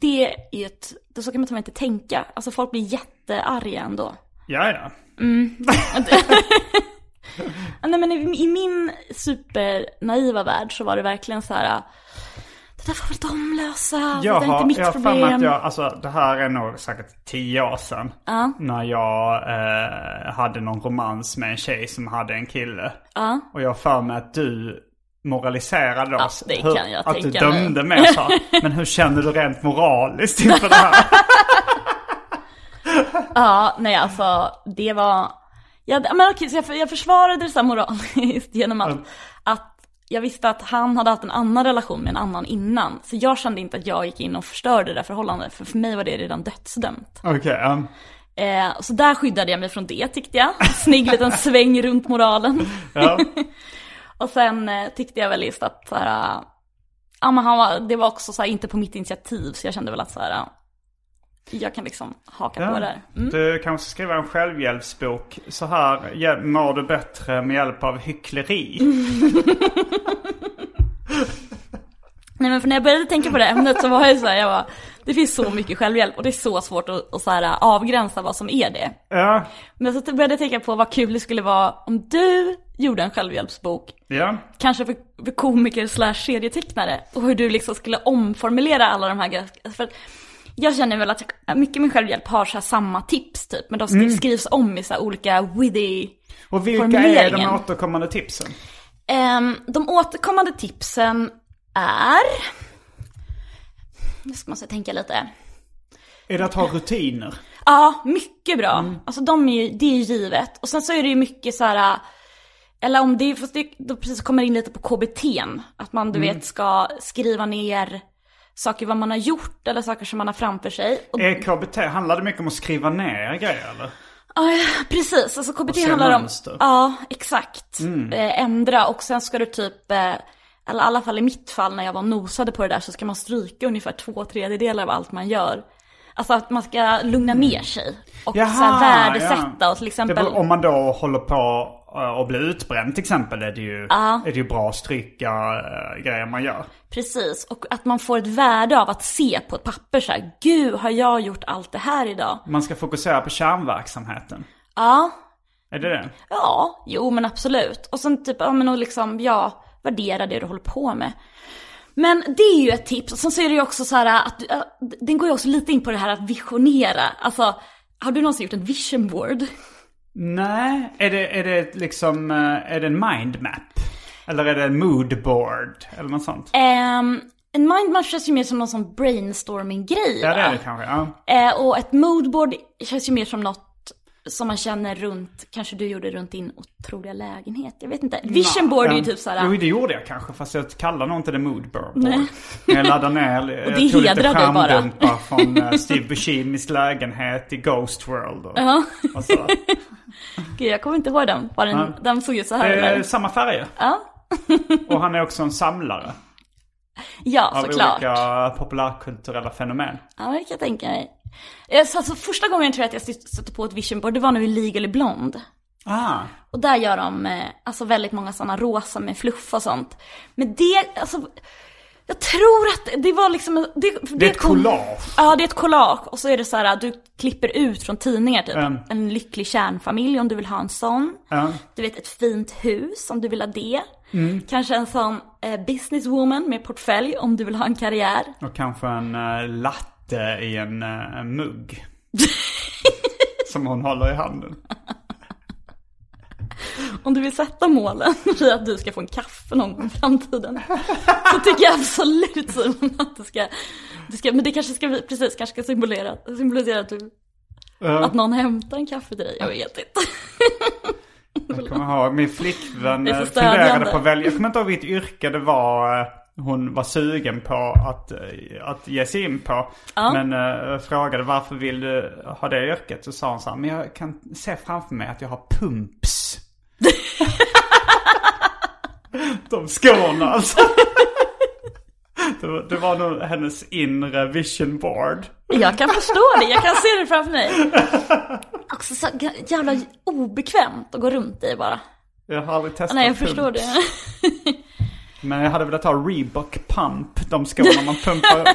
Speaker 3: Det är ju ett, så kan man ta mig inte tänka. Alltså folk blir jättearga ändå.
Speaker 2: Ja, ja.
Speaker 3: Ja, Nej men i, i min supernaiva värld så var det verkligen så här. Det där får väl de lösa,
Speaker 2: Jag
Speaker 3: Alltså, det där är inte mitt
Speaker 2: jag har för mig
Speaker 3: problem.
Speaker 2: att jag, alltså det här är nog säkert tio år sedan. När jag eh, hade någon romans med en tjej som hade en kille. Och jag har för mig att du moraliserade oss.
Speaker 3: det
Speaker 2: hur,
Speaker 3: kan jag
Speaker 2: att
Speaker 3: tänka
Speaker 2: du
Speaker 3: mig.
Speaker 2: dömde mig så.
Speaker 3: <laughs>
Speaker 2: här, Men hur känner du rent moraliskt inför det här?
Speaker 3: Ja, nej alltså det var... Jag, ja, men okej, så jag, för- jag försvarade det så här moraliskt <laughs> genom
Speaker 2: Mm.
Speaker 3: att, att jag visste att han hade haft en annan relation med en annan innan. Så jag kände inte att jag gick in och förstörde det där förhållandet, för för mig var det redan dödsdömt.
Speaker 2: Okej, ja.
Speaker 3: Eh, så där skyddade jag mig från det tyckte jag. Snygg liten sväng runt moralen.
Speaker 2: ja.
Speaker 3: Och sen eh, tyckte jag väl just att så här, äh, ja, men han var, det var också så här, inte på mitt initiativ så jag kände väl att så här, äh, jag kan liksom haka på där. Mm.
Speaker 2: Du kanske ska skriva en självhjälpsbok. Så här hjäl- mår du bättre med hjälp av hyckleri.
Speaker 3: Mm. Nej men för när jag började tänka på det ämnet så var jag ju så här, jag var, det finns så mycket självhjälp och det är så svårt att, att så här, äh, avgränsa vad som är det.
Speaker 2: Ja,
Speaker 3: Men så började jag tänka på vad kul det skulle vara om du gjorde en självhjälpsbok
Speaker 2: ja.
Speaker 3: kanske för, för komiker slash serietecknare och hur du liksom skulle omformulera alla de här grejerna. För att jag känner väl att jag, mycket min självhjälp har så här samma tips typ, men de skri- skrivs om i så här olika witty
Speaker 2: Och vilka är de
Speaker 3: Formuleringen.
Speaker 2: återkommande tipsen?
Speaker 3: Ehm, de återkommande tipsen är... Nu ska man så tänka lite.
Speaker 2: Är det att ha rutiner?
Speaker 3: Ja, mycket bra.
Speaker 2: Mm.
Speaker 3: Alltså de är ju, det är ju givet. Och sen så är det ju mycket så här. Eller om det, fast det då precis kommer in lite på KBT. Att man
Speaker 2: Mm.
Speaker 3: du vet ska skriva ner saker vad man har gjort eller saker som man har framför sig. Och,
Speaker 2: Är KBT, handlar det mycket om att skriva ner grejer eller?
Speaker 3: Ja, ja, precis, alltså
Speaker 2: se
Speaker 3: KBT handlar om...
Speaker 2: mönster. Mm.
Speaker 3: Ja, exakt. Eh, ändra och sen ska du typ, eh, eller i alla fall i mitt fall när jag var och nosade på det där så ska man stryka ungefär två tredjedelar av allt man gör. Alltså att man ska lugna ner sig och så här värdesätta
Speaker 2: Mm. ja.
Speaker 3: och till exempel...
Speaker 2: Det beror, om man då håller på eh, att bli utbränd till exempel är det ju, är det ju bra att stryka eh, grejer man gör.
Speaker 3: Precis, och att man får ett värde av att se på ett papper så här, gud har jag gjort allt det här idag?
Speaker 2: Man ska fokusera på kärnverksamheten.
Speaker 3: Ja,
Speaker 2: Är det det?
Speaker 3: ja, jo men absolut. Och sen typ, ja men och liksom, ja, värdera det du håller på med. Men det är ju ett tips, och sen så är det ju också så här att, äh, den går ju också lite in på det här att visionera. Alltså, har du någonsin gjort en
Speaker 2: <laughs>
Speaker 3: vision board?
Speaker 2: Nej, är det, är det liksom, eh, är det en mindmap? Eller är det en moodboard? Eller något sånt?
Speaker 3: Ehm, en mindmap känns ju mer som någon sån brainstorming-grej.
Speaker 2: Ja det är
Speaker 3: va?
Speaker 2: det kanske, ja.
Speaker 3: Eh, och ett moodboard känns ju mer som något som man känner runt, kanske du gjorde runt din otroliga lägenhet, jag vet inte. Vision board är ju
Speaker 2: Ja.
Speaker 3: typ
Speaker 2: Mm. Jo
Speaker 3: såhär,
Speaker 2: det gjorde jag kanske fast jag kallar nog inte det moodboard. Men jag laddade ner,
Speaker 3: <laughs> Och
Speaker 2: jag
Speaker 3: det
Speaker 2: tog lite
Speaker 3: hedrar dig bara. <laughs> <laughs>
Speaker 2: skärmdumpar från eh, Steve Buscemis lägenhet i Ghost World. Och, och så.
Speaker 3: Gud, jag kommer inte ihåg den. Var den, den såg ut så här
Speaker 2: Eh,
Speaker 3: eller?
Speaker 2: samma färger.
Speaker 3: Ja,
Speaker 2: Och han är också en samlare
Speaker 3: ja
Speaker 2: av
Speaker 3: såklart.
Speaker 2: olika populärkulturella fenomen.
Speaker 3: Ja, det kan jag tänka mig. Eh, Så alltså, första gången tror jag att jag stötte på ett vision board, det var nu i Legally Blonde.
Speaker 2: Ah,
Speaker 3: Och där gör de eh, alltså väldigt många sådana rosa med fluff och sånt. Men det, alltså, jag tror att det var liksom... Det, det,
Speaker 2: ett collage.
Speaker 3: Ja, det är ett collage. Och så är det så här, du klipper ut från tidningar typ.
Speaker 2: Mm.
Speaker 3: En lycklig kärnfamilj om du vill ha en sån.
Speaker 2: Ja. Mm.
Speaker 3: Du vet, ett fint hus om du vill ha det. Kanske en sån eh, businesswoman med portfölj om du vill ha en karriär.
Speaker 2: och kanske en eh, latte i en eh,
Speaker 3: <laughs>
Speaker 2: mugg. Som hon håller i handen.
Speaker 3: Om du vill sätta målen <laughs> i att du ska få en kaffe någon gång i framtiden så tycker jag absolut Simon att du ska, du ska men det kanske ska, bli- precis, kanske ska symbolera, symbolisera att, du, att någon hämtar en kaffe till dig, jag vet
Speaker 2: <laughs>
Speaker 3: inte.
Speaker 2: Jag kommer ihåg, min flickvän
Speaker 3: Det är så
Speaker 2: eh,
Speaker 3: stödjande.
Speaker 2: funderade på att välja, jag kommer inte ihåg vilket yrke det var eh, hon var sugen på att, eh, att ge sig in på. Men eh, frågade varför vill du ha det yrket? Så sa hon så här, men jag kan se framför mig att jag har
Speaker 3: <laughs>
Speaker 2: pumps. De skorna alltså. Det var, det var nog hennes inre vision board.
Speaker 3: Jag kan förstå det, jag kan se det framför mig. Också så jävla obekvämt att gå runt i bara.
Speaker 2: Jag har aldrig testat
Speaker 3: Nej jag
Speaker 2: pumps.
Speaker 3: förstår det.
Speaker 2: Men jag hade velat ha Reebok pump. De skorna man pumpar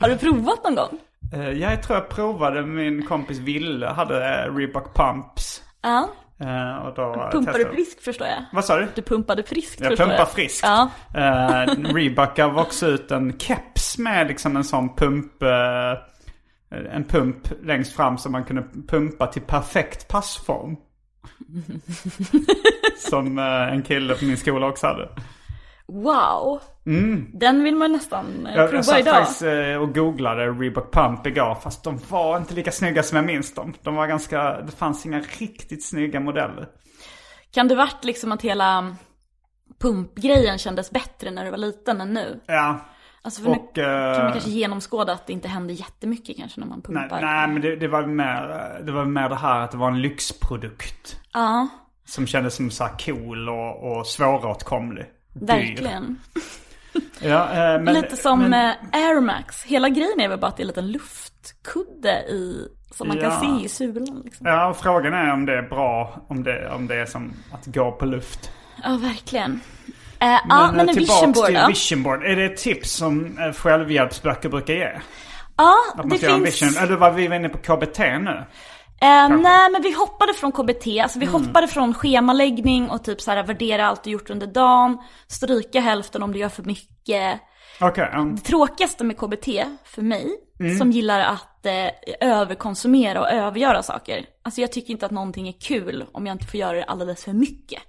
Speaker 3: Har du provat någon gång?
Speaker 2: Eh, Jag tror jag provade, min kompis Ville hade eh, Reebok Pumps.
Speaker 3: Ja,
Speaker 2: Eh, Och då eh,
Speaker 3: pumpar du
Speaker 2: testade-
Speaker 3: frisk förstår jag.
Speaker 2: Vad sa du?
Speaker 3: Du pumpade friskt
Speaker 2: Jag
Speaker 3: förstår
Speaker 2: pumpar friskt.
Speaker 3: Ja.
Speaker 2: Eh, Reebok gav också ut en keps med liksom en sån pump. eh, En pump längst fram som man kunde pumpa till perfekt
Speaker 3: <laughs>
Speaker 2: passform. som eh, en kille på min skola också hade.
Speaker 3: Wow. Den vill man nästan eh,
Speaker 2: Mm. Jag, jag
Speaker 3: prova
Speaker 2: satt
Speaker 3: idag.
Speaker 2: faktiskt eh, och googlade Reebok Pump igår, fast de var inte lika snygga som jag minns dem. De var ganska, det fanns inga riktigt snygga modeller.
Speaker 3: Kan det varit liksom att hela pumpgrejen kändes bättre när du var liten än nu?
Speaker 2: Ja,
Speaker 3: Alltså för nu
Speaker 2: och...
Speaker 3: kan man
Speaker 2: Eh,
Speaker 3: kanske genomskåda att det inte hände jättemycket kanske när man
Speaker 2: nej,
Speaker 3: pumpar.
Speaker 2: nej, men det, det var mer det var mer det här att det var en lyxprodukt.
Speaker 3: Ja,
Speaker 2: Som kändes som så här cool och, och svåråtkomlig. Dyr.
Speaker 3: verkligen.
Speaker 2: Ja, eh, men,
Speaker 3: Lite som
Speaker 2: men,
Speaker 3: eh, Air Max. Hela grejen är väl bara att det är en liten luftkudde i, som man
Speaker 2: Ja.
Speaker 3: kan se i sulan liksom.
Speaker 2: Ja, och frågan är om det är bra, om det, om det är som att gå på luft.
Speaker 3: Ja, verkligen. Eh, ja, men
Speaker 2: eh,
Speaker 3: en
Speaker 2: tillbaks
Speaker 3: vision board
Speaker 2: till
Speaker 3: då?
Speaker 2: vision board. Är det ett tips som eh, självhjälpsböcker brukar ge?
Speaker 3: Ja,
Speaker 2: Att man
Speaker 3: det
Speaker 2: ska göra en
Speaker 3: finns...
Speaker 2: vision. Eller var vi inne på KBT nu?
Speaker 3: Eh, nej men vi hoppade från KBT, alltså vi hoppade från schemaläggning och typ så här värdera allt du gjort under dagen, stryka hälften om du gör för mycket.
Speaker 2: Okej, um,
Speaker 3: Det tråkigaste med KBT för mig, som gillar att eh, överkonsumera och övergöra saker. Alltså jag tycker inte att någonting är kul om jag inte får göra det alldeles för mycket.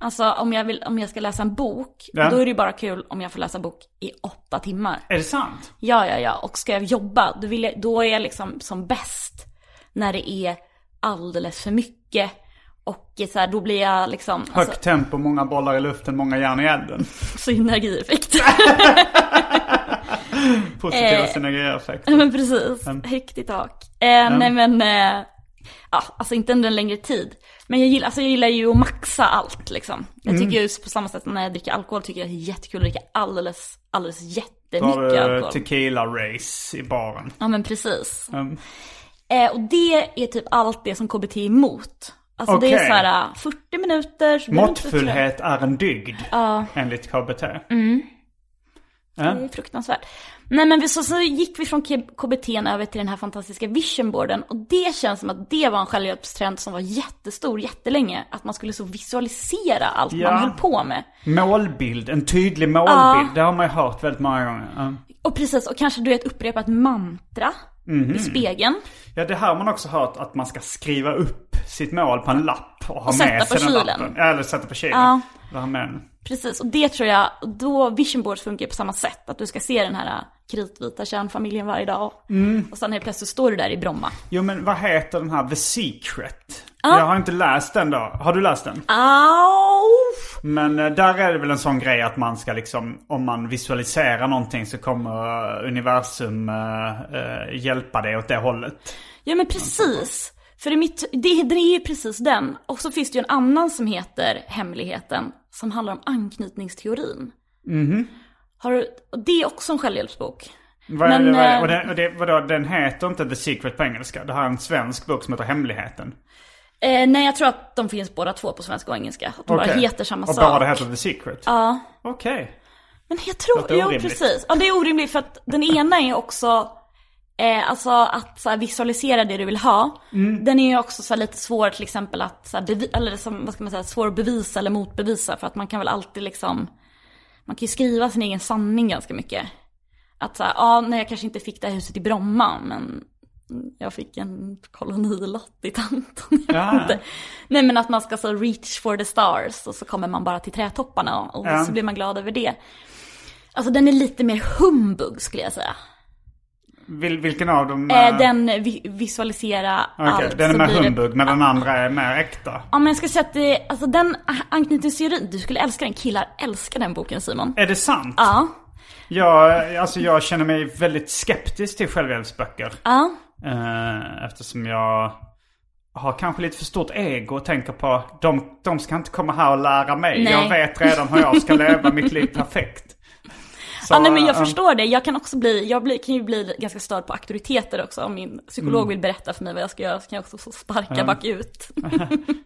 Speaker 3: Alltså om jag, vill, om jag ska läsa en bok,
Speaker 2: Ja.
Speaker 3: då är det ju bara kul om jag får läsa bok i åtta timmar.
Speaker 2: är det sant?
Speaker 3: Ja, ja, ja. Och ska jag jobba, då, vill jag, då är jag liksom som bäst när det är alldeles för mycket. Och så här, då blir jag liksom,
Speaker 2: Högt
Speaker 3: alltså,
Speaker 2: tempo, många bollar i luften, måga järn i elden. <laughs>
Speaker 3: synergieffekt.
Speaker 2: Positiva
Speaker 3: Eh.
Speaker 2: synergieffekter.
Speaker 3: <laughs> men precis, högt i tak. Eh, Nej men, eh, ja, alltså inte under en längre tid. Men jag gillar, alltså, jag gillar ju att maxa allt liksom. Jag tycker ju på samma sätt när jag dricker alkohol tycker jag det är jättekul att dricka alldeles, alldeles
Speaker 2: Då har du
Speaker 3: jättemycket alkohol.
Speaker 2: tequila-race eh, i baren.
Speaker 3: Ja men precis.
Speaker 2: Mm.
Speaker 3: Eh, och det är typ allt det som KBT är emot. Alltså det är
Speaker 2: Okej.
Speaker 3: så här eh, 40 minuter. så behöver inte-
Speaker 2: Måttfullhet är en dygd, enligt KBT.
Speaker 3: Mm. Det är fruktansvärt. Nej men vi, så, så gick vi från K- KBT n över till den här fantastiska visionboarden. Och det känns som att det var en självhjälpstrend som var jättestor jättelänge. Att man skulle så visualisera allt
Speaker 2: Ja.
Speaker 3: man höll på med.
Speaker 2: Målbild, en tydlig målbild. Det har man ju hört väldigt många gånger. Mm.
Speaker 3: Och precis, och kanske du vet upprepa ett mantra
Speaker 2: Mhm.
Speaker 3: i spegeln.
Speaker 2: Ja, det här har man också hört att man ska skriva upp sitt mål på en lapp och ha
Speaker 3: Och
Speaker 2: med
Speaker 3: sätta
Speaker 2: sig
Speaker 3: på
Speaker 2: den
Speaker 3: kylen.
Speaker 2: lappen. Eller sätta på kylen.
Speaker 3: Ja.
Speaker 2: Vad har man?
Speaker 3: Precis, och det tror jag, då vision boards funkar på samma sätt. Att du ska se den här äh, kritvita kärnfamiljen varje dag. Och sen helt plötsligt står du där i Bromma.
Speaker 2: Jo men vad heter den här The Secret? Jag har inte läst den då. Har du läst den?
Speaker 3: Au!
Speaker 2: Men eh, där är det väl en sån grej att man ska liksom, om man visualiserar någonting så kommer eh, universum eh, eh, hjälpa dig åt det hållet.
Speaker 3: Ja men precis. För i mitt, det, det är ju precis den. Och så finns det ju en annan som heter Hemligheten, som handlar om anknytningsteorin. Har du, och det är också en självhjälpsbok.
Speaker 2: Vad är
Speaker 3: Men,
Speaker 2: det, vad är det?
Speaker 3: eh,
Speaker 2: Och det, och det, vadå, den heter inte The Secret på engelska. Det här är en svensk bok som heter Hemligheten.
Speaker 3: Eh, nej, jag tror att de finns båda två på svenska och engelska. Att de bara
Speaker 2: Okej.
Speaker 3: heter samma
Speaker 2: och
Speaker 3: sak.
Speaker 2: båda heter The Secret?
Speaker 3: Ja.
Speaker 2: Okej.
Speaker 3: Men jag
Speaker 2: Låter
Speaker 3: tror, ja
Speaker 2: orimligt.
Speaker 3: precis. Ja det är orimligt för att den ena är också, eh, alltså att så här, visualisera det du vill ha.
Speaker 2: Mm.
Speaker 3: Den är ju också så här, lite svår till exempel att, så här, bevi- eller som, vad ska man säga, svår att bevisa eller motbevisa. För att man kan väl alltid liksom, man kan ju skriva sin egen sanning ganska mycket. Att såhär, ja nej jag kanske inte fick det här huset i Bromma men jag fick en kolonilott i Tanton. <laughs> Jag
Speaker 2: Ah.
Speaker 3: vet inte. Nej men att man ska så reach for the stars och så kommer man bara till trädtopparna och, och
Speaker 2: Ja.
Speaker 3: så blir man glad över det. Alltså den är lite mer humbug skulle jag säga.
Speaker 2: Vil, vilken av dem?
Speaker 3: Eh,
Speaker 2: eh,
Speaker 3: den vi- visualisera
Speaker 2: Okej,
Speaker 3: allt.
Speaker 2: den är
Speaker 3: så
Speaker 2: mer
Speaker 3: blir det-
Speaker 2: humbug men den andra är mer äkta.
Speaker 3: Ja men jag ska säga att det, alltså den a- anknytningsteorin, du skulle älska den. Killar älskar den boken Simon.
Speaker 2: Är det sant?
Speaker 3: Ja,
Speaker 2: Jag, alltså jag känner mig väldigt skeptisk till självhjälpsböcker.
Speaker 3: ja.
Speaker 2: Eh, eftersom jag har kanske lite för stort ego och tänker på de, de ska inte komma här och lära mig.
Speaker 3: Nej.
Speaker 2: Jag vet redan hur jag ska leva mitt liv perfekt. Så,
Speaker 3: Ja, nej, men jag
Speaker 2: eh,
Speaker 3: förstår det. Jag kan också bli, jag blir, kan ju bli ganska störd på auktoriteter också. Om min psykolog
Speaker 2: Mm.
Speaker 3: vill berätta för mig vad jag ska göra så kan jag också så
Speaker 2: <laughs>
Speaker 3: sparka bakut.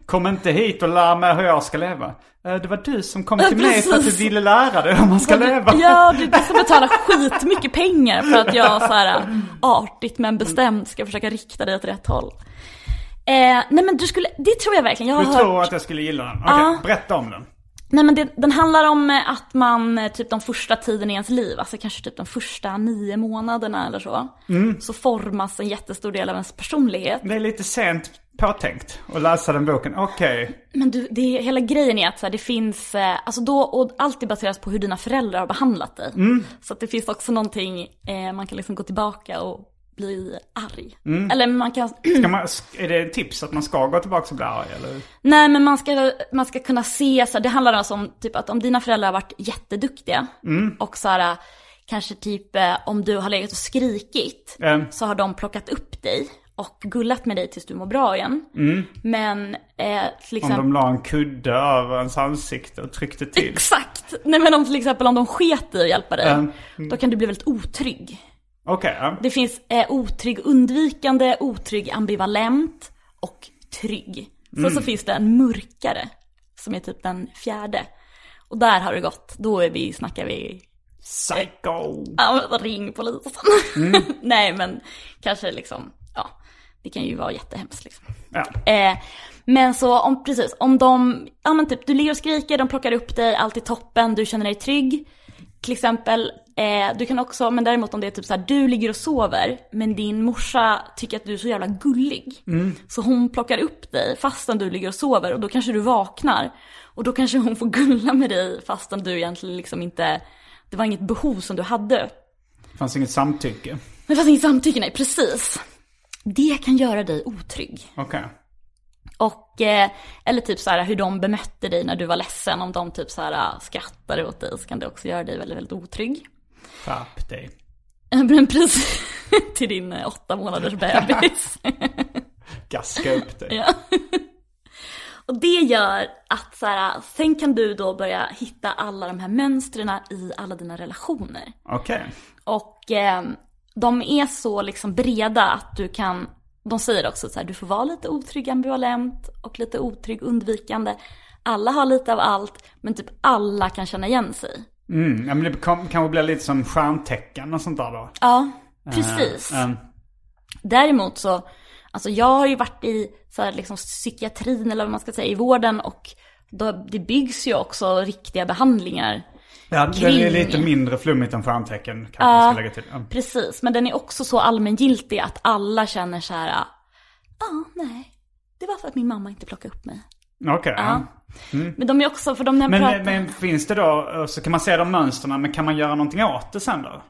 Speaker 2: Kom inte hit och lär mig hur jag ska leva. Eh, det var du som kom till mig för att du
Speaker 3: precis.
Speaker 2: ville lära dig hur man ska leva.
Speaker 3: Ja, du, du ska betala skitmycket pengar för att jag så här äh, artigt men bestämt ska försöka rikta dig åt rätt håll. Eh, nej men du skulle, det tror jag verkligen. Jag har
Speaker 2: Du
Speaker 3: hört,
Speaker 2: tror att jag skulle gilla den? Okej,
Speaker 3: Ja.
Speaker 2: berätta om den.
Speaker 3: nej men det, den handlar om eh, att man eh, typ de första tiden i ens liv, alltså kanske typ de första nio månaderna eller så.
Speaker 2: Mm.
Speaker 3: Så formas en jättestor del av ens personlighet.
Speaker 2: Det är lite sent påtänkt att läsa den boken. Okej.
Speaker 3: Men du, det är, hela grejen är att så här, det finns, eh, alltså då, och allt är baserat på hur dina föräldrar har behandlat dig.
Speaker 2: Mm.
Speaker 3: Så att det finns också någonting, eh, man kan liksom gå tillbaka och bli arg.
Speaker 2: Mm.
Speaker 3: Eller man kan, <clears throat>
Speaker 2: Ska man, är det ett tips att man ska gå tillbaka och bli arg eller?
Speaker 3: nej men man ska, man ska kunna se, så här, det handlar alltså om typ att om dina föräldrar har varit jätteduktiga
Speaker 2: Mm.
Speaker 3: och så här, eh, kanske typ eh, om du har legat och skrikit
Speaker 2: Mm.
Speaker 3: så har de plockat upp dig och gullat med dig tills du mår bra igen. Men eh, till
Speaker 2: Mm. Om
Speaker 3: exempel...
Speaker 2: de la en kudde över ens ansikte och tryckte till.
Speaker 3: Exakt! Nej men om till exempel om de sket i att hjälpa dig,
Speaker 2: Mm.
Speaker 3: då kan du bli väldigt otrygg.
Speaker 2: Okej, ja.
Speaker 3: Det finns eh, otrygg undvikande, otrygg ambivalent och trygg. Sen
Speaker 2: Mm.
Speaker 3: så finns det en mörkare, som är typ den fjärde. Och där har det gått, då är vi, snackar vi,
Speaker 2: Psycho!
Speaker 3: ja, men ring polisen.
Speaker 2: Mm.
Speaker 3: <laughs> Nej men kanske liksom, ja, det kan ju vara jättehemskt liksom.
Speaker 2: Ja.
Speaker 3: Eh, men så om, precis, om de, ja men typ du ligger och skriker, de plockar upp dig, allt är toppen, du känner dig trygg. Till exempel, eh, du kan också, men däremot om det är typ så här, du ligger och sover, men din morsa tycker att du är så jävla gullig. Så hon plockar upp dig fastän du ligger och sover och då kanske du vaknar. Och då kanske hon får gulla med dig fastän du egentligen liksom inte, det var inget behov som du hade.
Speaker 2: Det fanns inget samtycke.
Speaker 3: Men fast inget samtycke, nej precis. Det kan göra dig otrygg.
Speaker 2: Okej.
Speaker 3: Och, eh, eller typ så här hur de bemötte dig när du var ledsen. Om de typ så här eh, skrattade åt dig så kan det också göra dig väldigt, väldigt otrygg. <laughs>
Speaker 2: Skärp dig.
Speaker 3: Eh, Men precis <laughs> till din eh, åtta månaders bebis.
Speaker 2: Gaska upp
Speaker 3: <laughs>
Speaker 2: dig.
Speaker 3: Och det gör att så här, ah, sen kan du då börja hitta alla de här mönstren i alla dina relationer.
Speaker 2: Okej.
Speaker 3: Och eh, de är så liksom breda att du kan, de säger också så här, du får vara lite otrygg ambivalent och lite otrygg undvikande. Alla har lite av allt, men typ alla kan känna igen sig.
Speaker 2: Mm, ja, men det kom, kanske blir lite som stjärntecken och sånt där då.
Speaker 3: Ja, precis.
Speaker 2: Eh,
Speaker 3: Däremot så, alltså jag har ju varit i så här liksom psykiatrin eller vad man ska säga, i vården och då, det byggs ju också riktiga behandlingar
Speaker 2: ja, det är
Speaker 3: Kring.
Speaker 2: lite mindre flummigt än stjärntecken kanske man ska lägga till. Ja.
Speaker 3: Precis, men den är också så allmängiltig att alla känner så här, ja nej, det var för att min mamma inte plockade upp mig.
Speaker 2: Okej. ja.
Speaker 3: Men de är också, för de när jag pratar,
Speaker 2: Mm. Men, men finns det då, eh, så kan man se de mönstren, men kan man göra någonting åt det sen då?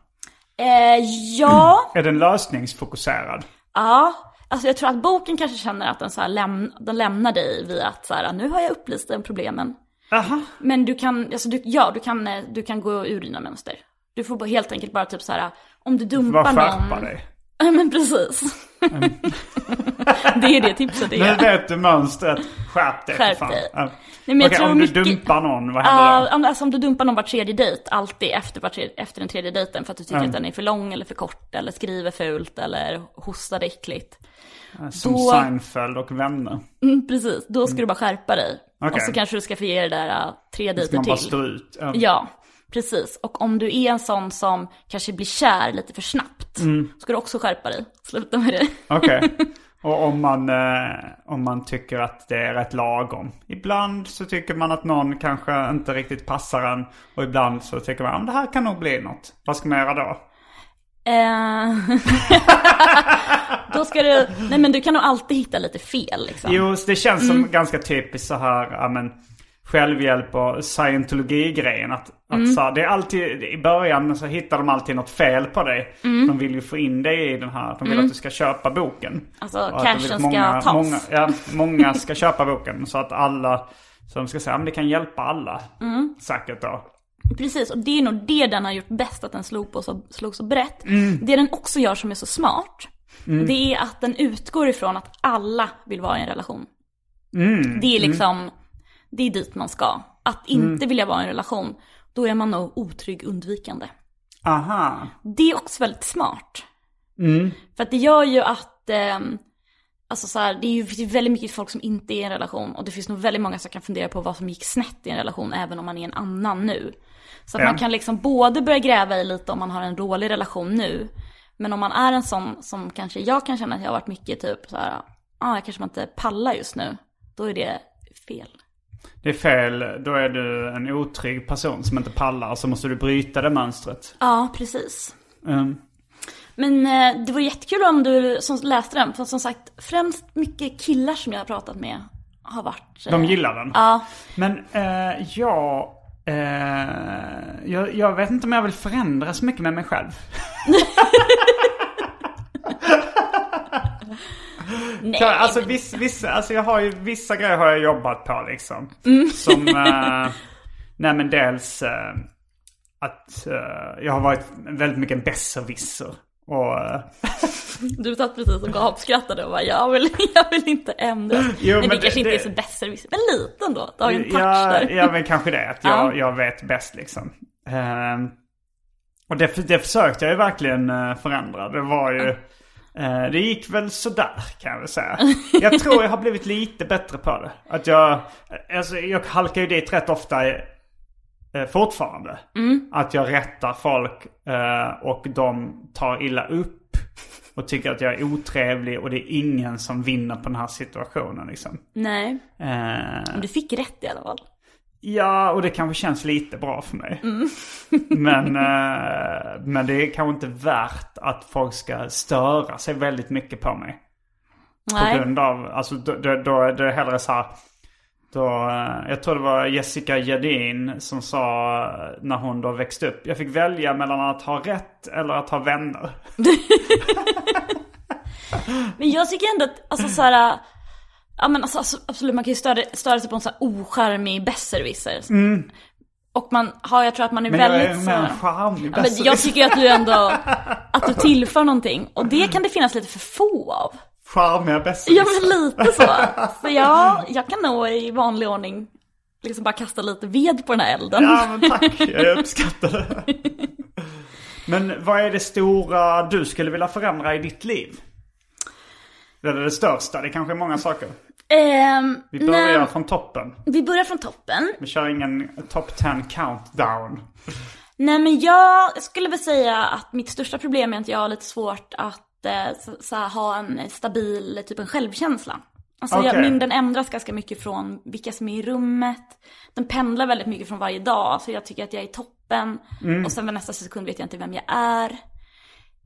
Speaker 3: Eh, ja,
Speaker 2: Är den lösningsfokuserad?
Speaker 3: ja. Alltså jag tror att boken kanske känner att den, så här läm, den lämnar dig via att så här, nu har jag upplyst dig om problemen.
Speaker 2: Aha.
Speaker 3: Men du kan, alltså du, ja, du kan, eh, du kan gå ur dina mönster. Du får bara helt enkelt bara typ så här, om du dumpar <laughs>
Speaker 2: Varför
Speaker 3: någon.
Speaker 2: skärpa dig?
Speaker 3: Ja, men precis. Det är det tipset
Speaker 2: Nu
Speaker 3: är.
Speaker 2: vet du mönstret. Skärp dig för
Speaker 3: Skärp
Speaker 2: fan.
Speaker 3: dig.
Speaker 2: Ja.
Speaker 3: Nej, men jag
Speaker 2: Okej,
Speaker 3: tror
Speaker 2: om du
Speaker 3: mycket-
Speaker 2: dumpar någon, vad händer
Speaker 3: Ja, om- alltså om du dumpar någon var tredje dejt, alltid efter, var tredje, efter den tredje dejten för att du tycker att den är för lång eller för kort eller skriver fult eller hostar äckligt.
Speaker 2: då? Som
Speaker 3: då-
Speaker 2: Seinfeld och vänner.
Speaker 3: Mm, precis, då ska du bara skärpa dig.
Speaker 2: Okej.
Speaker 3: Och så kanske du ska få ge det där äh, tre
Speaker 2: Ska
Speaker 3: dejter
Speaker 2: man bara
Speaker 3: till.
Speaker 2: stå ut. Ja.
Speaker 3: Ja, precis. Och om du är en sån som kanske blir kär lite för snabbt,
Speaker 2: Mm.
Speaker 3: ska du också skärpa dig. Sluta med det.
Speaker 2: Okej. Och om man, eh, om man tycker att det är rätt lagom. Ibland så tycker man att någon kanske inte riktigt passar en. Och ibland så tycker man att det här kan nog bli något. Vad ska man göra då?
Speaker 3: Eh, <laughs> då ska du, nej men du kan nog alltid hitta lite fel liksom.
Speaker 2: Jo, så det känns som ganska typiskt så här, ja men självhjälp och scientologi-grejen. Att, att så här, det är alltid, i början så hittar de alltid något fel på dig. De vill ju få in dig i den här, de vill att du ska köpa boken.
Speaker 3: Alltså,
Speaker 2: Och att de
Speaker 3: cashen
Speaker 2: vill att
Speaker 3: ska tas.
Speaker 2: Många, ja, många ska köpa boken så att alla, så de ska säga, "Ja, men det kan hjälpa alla.
Speaker 3: Mm.
Speaker 2: Säkert då.
Speaker 3: Precis, och det är nog det den har gjort bäst, att den slog, på så, slog så brett. Det den också gör som är så smart, det är att den utgår ifrån att alla vill vara i en relation. Det är liksom, det är dit man ska. Att inte vilja vara i en relation, då är man nog otrygg undvikande.
Speaker 2: Aha.
Speaker 3: Det är också väldigt smart. För att det gör ju att, ehm, alltså så här, det är ju det är väldigt mycket folk som inte är i en relation och det finns nog väldigt många som kan fundera på vad som gick snett i en relation även om man är i en annan nu. Så att
Speaker 2: Ja.
Speaker 3: man kan liksom både börja gräva i lite om man har en dålig relation nu, men om man är en sån som kanske jag kan känna att jag har varit mycket typ så här, ah, jag kanske inte pallar just nu, då är det fel.
Speaker 2: Det är fel, då är du en otrygg person som inte pallar. Så måste du bryta det mönstret.
Speaker 3: Ja, precis.
Speaker 2: Mm.
Speaker 3: Men eh, det var jättekul om du som läste den, för som sagt, främst mycket killar som jag har pratat med har varit... eh,
Speaker 2: De gillar den.
Speaker 3: Ja,
Speaker 2: Men eh, jag, eh, jag... Jag vet inte om jag vill förändra så mycket med mig själv.
Speaker 3: nej.
Speaker 2: Jag, alltså, viss, vissa, alltså jag har ju, vissa grejer har jag jobbat på liksom.
Speaker 3: Mm.
Speaker 2: Som... Eh, nej men dels eh, att eh, jag har varit väldigt mycket en besserwisser. Och... Eh,
Speaker 3: Du satt precis och gapskrattade och bara jag vill, <laughs> jag vill inte ändra.
Speaker 2: Jo,
Speaker 3: men,
Speaker 2: men
Speaker 3: det,
Speaker 2: det-
Speaker 3: kanske inte
Speaker 2: det-
Speaker 3: är så besserwisser, men lite ändå. Du har ju en touch
Speaker 2: ja,
Speaker 3: där.
Speaker 2: ja, men kanske det. Att jag,
Speaker 3: Ja.
Speaker 2: jag vet bäst liksom. Ehm, och det, det försökte jag ju verkligen eh, förändra. Det var ju... eh, det gick väl sådär kan jag väl säga. Jag tror jag har blivit lite bättre på det. Att jag... Alltså, jag halkar ju dit rätt ofta eh, fortfarande.
Speaker 3: Mm.
Speaker 2: Att jag rättar folk eh, och de tar illa upp. Och tycker att jag är otrevlig och det är ingen som vinner på den här situationen liksom.
Speaker 3: <laughs> Nej,
Speaker 2: Eh,
Speaker 3: men du fick rätt i alla fall.
Speaker 2: Ja, och det kanske känns lite bra för mig.
Speaker 3: Mm.
Speaker 2: <laughs> men, eh, men det är kanske inte värt att folk ska störa sig väldigt mycket på mig. På
Speaker 3: Nej,
Speaker 2: grund av, alltså då, då, då är det hellre så här. Då, eh, jag tror det var Jessica Jadin som sa eh, när hon då växte upp. Jag fick välja mellan att ha rätt eller att ha vänner.
Speaker 3: men jag tycker ändå att, alltså så här, äh, ja men alltså, alltså absolut man kan ju störa, störa sig på en sån här ocharmig besserwisser. Och man har, jag tror att man är
Speaker 2: Mm. Men jag
Speaker 3: väldigt
Speaker 2: är
Speaker 3: så
Speaker 2: mer
Speaker 3: här-
Speaker 2: en charmig
Speaker 3: Ja, men
Speaker 2: besserwisser.
Speaker 3: jag tycker ju att du ändå, att du tillför någonting. Och det kan det finnas lite för få av.
Speaker 2: Charmiga besserwisser.
Speaker 3: Ja men lite så. Så jag, jag kan nog i vanlig ordning liksom bara kasta lite ved på den här elden.
Speaker 2: Ja, men tack. Jag uppskattar det. Men vad är det stora du skulle vilja förändra i ditt liv? Det är det största. Det kanske är många saker.
Speaker 3: Ehm,
Speaker 2: Vi börjar
Speaker 3: nej,
Speaker 2: från toppen.
Speaker 3: vi börjar från toppen.
Speaker 2: Vi kör ingen top 10 countdown.
Speaker 3: Nej men jag, jag skulle väl säga att mitt största problem är att jag har lite svårt att eh, så, så här, ha en stabil, typ en självkänsla. Alltså jag,
Speaker 2: Okej.
Speaker 3: min, den ändras ganska mycket från vilka som är i rummet. Den pendlar väldigt mycket från varje dag. Så jag tycker att jag är i toppen.
Speaker 2: Mm.
Speaker 3: Och sen vid nästa sekund vet jag inte vem jag är.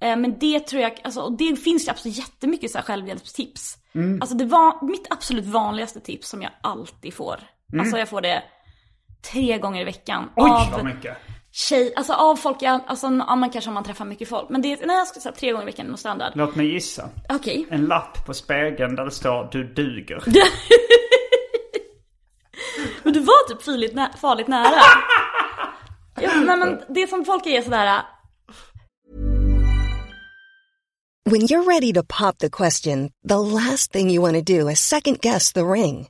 Speaker 3: Eh, Men det tror jag, alltså, och det finns ju absolut jättemycket så här självhjälpstips.
Speaker 2: Mm.
Speaker 3: Alltså det var mitt absolut vanligaste tips som jag alltid får. Alltså jag får det tre gånger i veckan.
Speaker 2: Mm. Oj,
Speaker 3: av-
Speaker 2: vad mycket.
Speaker 3: tjej, alltså av folk, jag, alltså ja, man kanske om man träffar mycket folk. Men det är, nej jag skulle säga tre gånger i veckan är nog standard.
Speaker 2: Låt mig gissa.
Speaker 3: Okej.
Speaker 2: En lapp på spegeln där det står du duger.
Speaker 3: Men du var typ farligt, nä- farligt nära. ja, nej men det som folk är sådär,
Speaker 4: When you're ready to pop the question, the last thing you want to do is second guess the ring.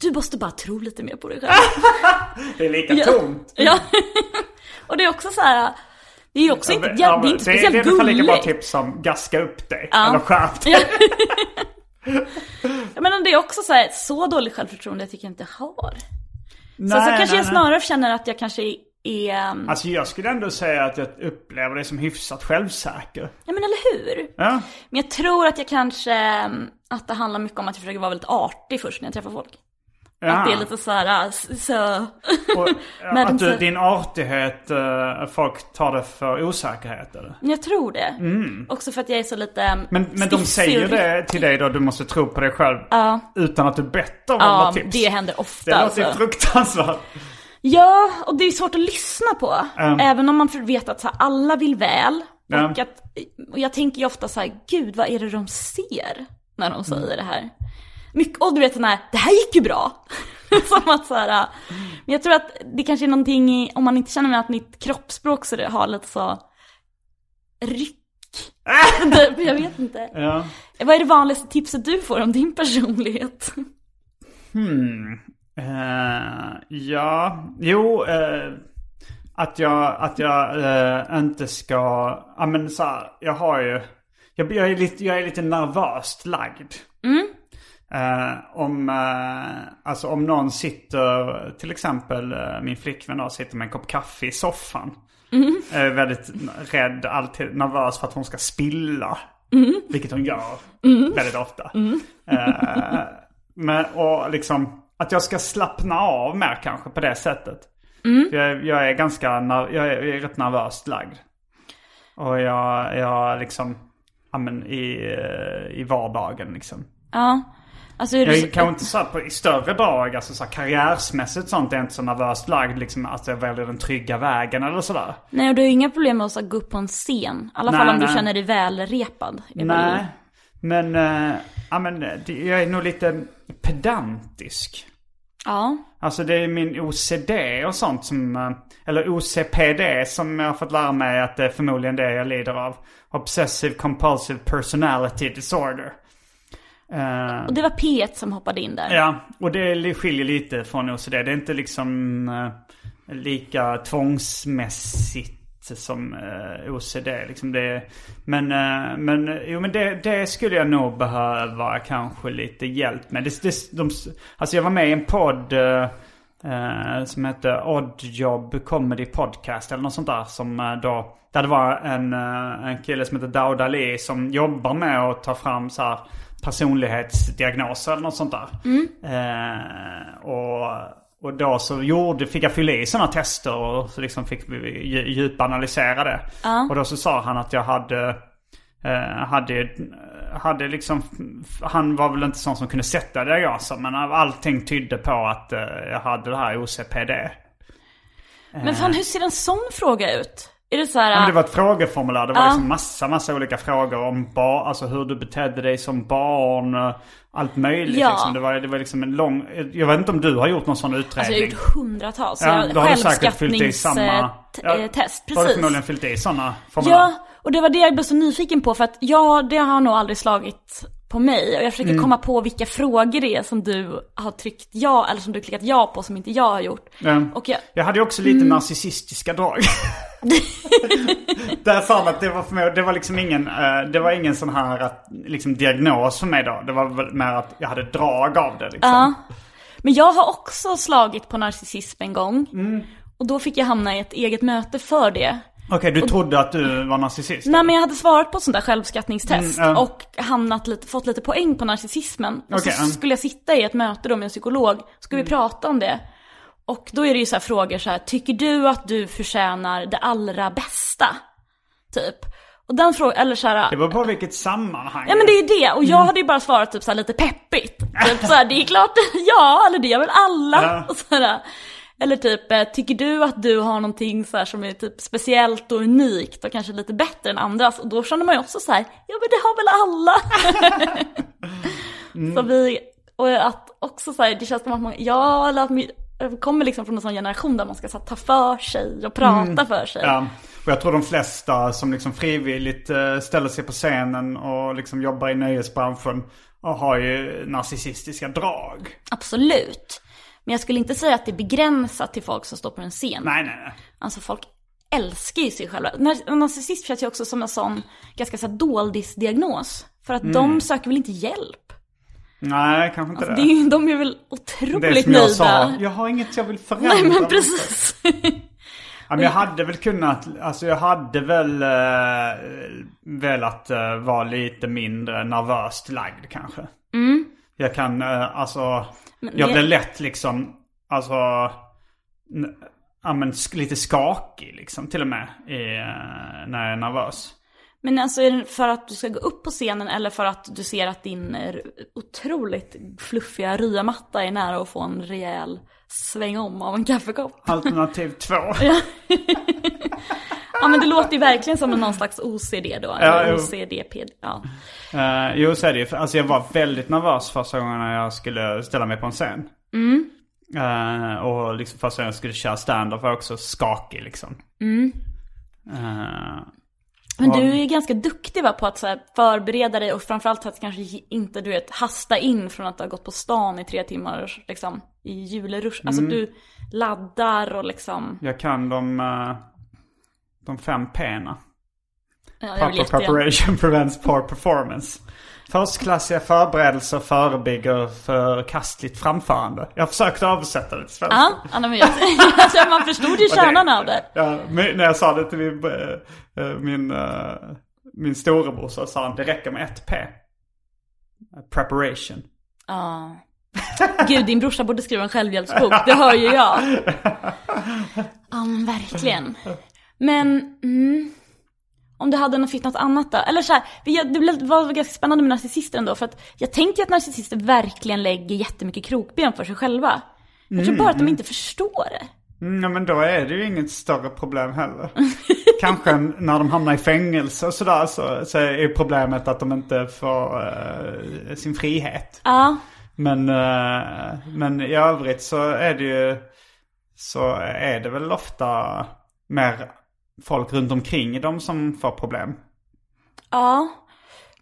Speaker 3: Du måste bara tro lite mer på
Speaker 2: <laughs>
Speaker 3: dig själv.
Speaker 2: Det är lika tomt.
Speaker 3: Ja. Och det är också så här. Det är ju också inte, ja, det är inte
Speaker 2: det,
Speaker 3: speciellt
Speaker 2: det är ungefär lika bra typ.
Speaker 3: gulligt. <laughs>
Speaker 2: tips som gaska upp dig. Eller skärp dig.
Speaker 3: Jag menar det är också så här, så dåligt självförtroende jag tycker jag inte har. så så kanske jag snarare känner att jag kanske är, um,
Speaker 2: Alltså jag skulle ändå säga att jag upplever dig som hyfsat självsäker.
Speaker 3: ja men eller hur?
Speaker 2: Ja.
Speaker 3: Men jag tror att jag kanske, um, att det handlar mycket om att jag försöker vara väldigt artig först när jag träffar folk.
Speaker 2: Ja.
Speaker 3: Att det är lite så här, ah, s- så...
Speaker 2: Och,
Speaker 3: Men
Speaker 2: att du,
Speaker 3: så-
Speaker 2: din artighet, eh, folk tar det för osäkerhet eller?
Speaker 3: Men Jag tror det. Också för att jag är så lite um,
Speaker 2: Mm. Men, men de
Speaker 3: stiff-
Speaker 2: säger ju det till dig då, du måste tro på dig själv. Utan att du bett om alla
Speaker 3: Ja,
Speaker 2: tips.
Speaker 3: det händer ofta
Speaker 2: Det låter ju
Speaker 3: alltså.
Speaker 2: fruktansvärt.
Speaker 3: Ja, och det är svårt att lyssna på. Även om man vet att så här, alla vill väl.
Speaker 2: Ja.
Speaker 3: Och, att, och jag tänker ju ofta så här, gud vad är det de ser när de säger
Speaker 2: Mm.
Speaker 3: det här? Mycket, och du vet den här, det här gick ju bra. <laughs> Som att så här, äh, men jag tror att det kanske är någonting i, om man inte känner med att mitt kroppsspråk så det har lite så
Speaker 2: <laughs>
Speaker 3: ryck. <laughs> Typ, jag vet inte.
Speaker 2: Ja.
Speaker 3: Vad är det vanligaste tipset du får om din personlighet?
Speaker 2: Eh, ja, jo. eh, att jag, att jag eh, inte ska... Ja men så här, jag har ju... Jag, jag, är lite, jag är lite nervöst lagd. Eh, om, eh, alltså om någon sitter, till exempel eh, min flickvän då, sitter med en kopp kaffe i soffan. Jag är väldigt rädd, alltid nervös för att hon ska spilla. Vilket hon gör väldigt ofta. Eh, men, och liksom att jag ska slappna av mer kanske på det sättet. För Jag, jag är ganska, ner- jag är, jag är rätt nervöst lagd. Och jag, jag liksom, ja men i, eh, i vardagen liksom.
Speaker 3: Ja, alltså är
Speaker 2: Jag
Speaker 3: du...
Speaker 2: är kanske inte så här på, i större drag, alltså så här karriärsmässigt sånt är jag inte så nervöst lagd liksom att jag väljer den trygga vägen eller sådär.
Speaker 3: Nej, och du har inga problem med att så gå upp på en scen. I alla
Speaker 2: Nej,
Speaker 3: fall om du
Speaker 2: nej.
Speaker 3: känner dig välrepad. är väl-
Speaker 2: Nej, men, eh, ja men eh, det- jag är nog lite pedantisk.
Speaker 3: Ja.
Speaker 2: Alltså det är min OCD och sånt som, eh, eller OCPD som jag har fått lära mig att det är förmodligen det jag lider av. Obsessive compulsive personality disorder. Eh,
Speaker 3: Och det var P1 som hoppade in där.
Speaker 2: ja, och det li- skiljer lite från OCD. Det är inte liksom eh, lika tvångsmässigt som eh, OCD. Liksom det, är- men eh, men, eh, jo, men det, det skulle jag nog behöva kanske lite hjälp med. Det, det, de, alltså jag var med i en podd eh, eh, som hette Oddjob Comedy Podcast eller något sånt där. Som eh, då, där det var en, eh, en kille som heter Daoud Ali som jobbar med att ta fram så här personlighetsdiagnoser eller något sånt där. Eh, och och då så gjorde, fick jag fylla i sådana tester och så liksom fick vi dju- djupanalysera det. Och då så sa han att jag hade, eh, hade, hade liksom, han var väl inte sån som kunde sätta diagnoser men allting tydde på att eh, jag hade det här OCPD.
Speaker 3: Men fan, hur ser en sån fråga ut? Är det så här...
Speaker 2: Ja, men det var ett frågeformulär. Det var
Speaker 3: Ja.
Speaker 2: liksom massa, massa olika frågor om bar, alltså hur du betedde dig som barn. eh, Allt möjligt
Speaker 3: Ja.
Speaker 2: liksom. Det var, det var liksom en lång... Jag vet inte om du har gjort någon sån
Speaker 3: Alltså
Speaker 2: utredning.
Speaker 3: jag har gjort hundratals.
Speaker 2: Ja,
Speaker 3: Ja,
Speaker 2: då har du säkert fyllt i samma... Ja,
Speaker 3: Självskattningstest,
Speaker 2: Då har du
Speaker 3: eh, precis.
Speaker 2: förmodligen fyllt i sådana formulär.
Speaker 3: Ja, och det var det jag blev så nyfiken på för att ja, det har nog aldrig slagit på mig. Och jag
Speaker 2: Mm.
Speaker 3: försöker komma på vilka frågor det är som du har tryckt ja, eller som du klickat ja på som inte jag har gjort.
Speaker 2: Ja.
Speaker 3: Och jag,
Speaker 2: Jag hade ju också
Speaker 3: Mm.
Speaker 2: lite narcissistiska drag. <laughs> Där sa att det var, för mig, det var liksom ingen, eh, det var ingen sån här att, liksom, diagnos för mig då. Det var väl mer att jag hade drag av det liksom.
Speaker 3: men jag har också slagit på narcissism en gång.
Speaker 2: Mm.
Speaker 3: Och då fick jag hamna i ett eget möte för det.
Speaker 2: Okej, du trodde att du var narcissist?
Speaker 3: Nej men jag hade svarat på ett sånt där självskattningstest
Speaker 2: Mm, ja.
Speaker 3: och hamnat lite, fått lite poäng på narcissismen. Och
Speaker 2: Okej,
Speaker 3: så
Speaker 2: ja. Mm.
Speaker 3: skulle jag sitta i ett möte då med en psykolog, skulle vi prata om det? Och då är det ju så här frågor så här, tycker du att du förtjänar det allra bästa? Typ. Och den frågan, eller så här,
Speaker 2: Det beror på vilket sammanhang.
Speaker 3: Ja men det är ju det, och
Speaker 2: Mm.
Speaker 3: jag hade ju bara svarat typ så här lite peppigt. Typ så här, det är klart, <laughs> ja, eller det gör väl alla.
Speaker 2: Ja.
Speaker 3: Och så här, eller typ, eh, tycker du att du har någonting så här som är typ speciellt och unikt och kanske lite bättre än andras? Och då känner man ju också så här, ja men det har väl
Speaker 2: <laughs>
Speaker 3: alla.
Speaker 2: Mm.
Speaker 3: Så vi, och att också så här, det känns som att man, ja, eller att man jag kommer liksom från en sån generation där man ska så här, ta för sig och prata för sig.
Speaker 2: Mm. Ja. Och jag tror de flesta som liksom frivilligt eh, ställer sig på scenen och liksom jobbar i nöjesbranschen och har ju narcissistiska drag.
Speaker 3: Absolut. Men jag skulle inte säga att det är begränsat till folk som står på en scen.
Speaker 2: Nej, nej, nej.
Speaker 3: Alltså folk älskar ju sig själva. När- Narcissism känns ju också som en sån ganska så här doldisdiagnos. För att
Speaker 2: Mm.
Speaker 3: de söker väl inte hjälp? Alltså,
Speaker 2: Nej, kanske inte
Speaker 3: Det är, ju- de är väl otroligt
Speaker 2: Äh. Det som
Speaker 3: nöjda.
Speaker 2: jag sa, jag har inget jag vill förändra.
Speaker 3: <laughs> Nej men precis.
Speaker 2: Ja, men jag hade väl kunnat, alltså jag hade väl eh, velat eh, vara lite mindre nervöst lagd kanske. Jag kan, eh, alltså, jag
Speaker 3: det-
Speaker 2: blir lätt liksom, alltså, n- ja men sk- lite skakig liksom till och med i, eh, när jag är nervös.
Speaker 3: Men alltså är det för att du ska gå upp på scenen eller för att du ser att din eh, otroligt fluffiga ryamatta är nära att få en rejäl sväng om av en kaffekopp?
Speaker 2: Alternativ två.
Speaker 3: Ja men det låter ju verkligen som en någon slags OCD då.
Speaker 2: Ja,
Speaker 3: eller
Speaker 2: jo.
Speaker 3: OCD-PD. Ja.
Speaker 2: Eh, jo, så är det ju. För, Alltså jag var väldigt nervös första gången när jag skulle ställa mig på en scen. Eh, och liksom första gången jag skulle köra stand-up var jag också skakig liksom. Eh,
Speaker 3: Men du är ju ganska duktig va, på att så här, förbereda dig och framförallt att kanske ge- inte du vet, hasta in från att du har gått på stan i tre timmar liksom, i julrush. Alltså du laddar och liksom...
Speaker 2: jag kan de, eh, de fem P'na.
Speaker 3: Ja, jag vill
Speaker 2: Proper
Speaker 3: jättegärna...
Speaker 2: preparation <laughs> prevents poor performance. Förstklassiga förberedelser förebygger förkastligt framförande. Jag försökte översätta det till svenska.
Speaker 3: Ja, ja, nej, men jag, <laughs> alltså, man förstod ju kärnan av det.
Speaker 2: Ja, men när jag sa det till min, eh, eh, min, eh, min storebror så sa han det räcker med ett P. Preparation.
Speaker 3: Ja. Gud, din brorsa borde skriva en självhjälpsbok, det hör ju jag. Ja, men verkligen. Men, mm, om du hade något- fick något annat då? Eller så här, vi- det blev- var ganska spännande med narcissister ändå, för att jag tänker att narcissister verkligen lägger jättemycket krokben för sig själva. Jag tror bara att de inte förstår det.
Speaker 2: Mm, ja, men då är det ju inget större problem heller. Kanske en- när de hamnar i fängelse och sådär så, så är ju problemet att de inte får eh, sin frihet.
Speaker 3: Ja,
Speaker 2: Men, eh, men i övrigt så är det ju så är det väl ofta mer folk runt omkring dem som får problem.
Speaker 3: ja.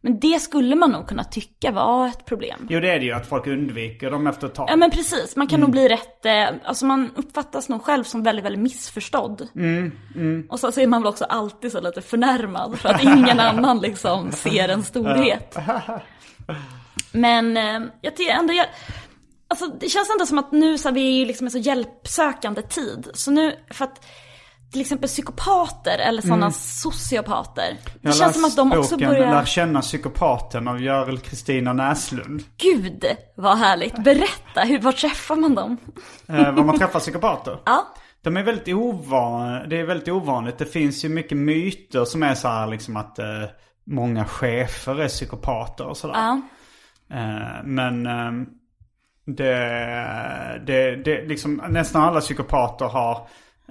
Speaker 3: Men det skulle man nog kunna tycka var ett problem.
Speaker 2: Jo det är det ju att folk undviker dem efter ett tag.
Speaker 3: Ja men precis, man kan
Speaker 2: Mm.
Speaker 3: nog bli rätt, eh, alltså man uppfattas nog själv som väldigt, väldigt missförstådd.
Speaker 2: Mm,
Speaker 3: Och så, så är man väl också alltid så lite förnärmad för att
Speaker 2: <laughs>
Speaker 3: ingen annan liksom ser en storhet. Men eh, jag tycker ändå, jag, alltså det känns ändå som att nu så här, vi är ju liksom en så hjälpsökande tid. Så nu, för att till exempel psykopater eller sådana sociopater. Det
Speaker 2: Mm. Jag
Speaker 3: känns som att de också
Speaker 2: boken
Speaker 3: börjar...
Speaker 2: Lär känna psykopaten av Görel Kristina Näslund.
Speaker 3: Gud vad härligt! Berätta, hur, var träffar man dem?
Speaker 2: Eh, var man träffar psykopater.
Speaker 3: Ja.
Speaker 2: De är väldigt ovan, det är väldigt ovanligt. Det finns ju mycket myter som är så här liksom att eh, många chefer är psykopater och sådär.
Speaker 3: Ja.
Speaker 2: Eh, men eh, det, det, det, liksom, nästan alla psykopater har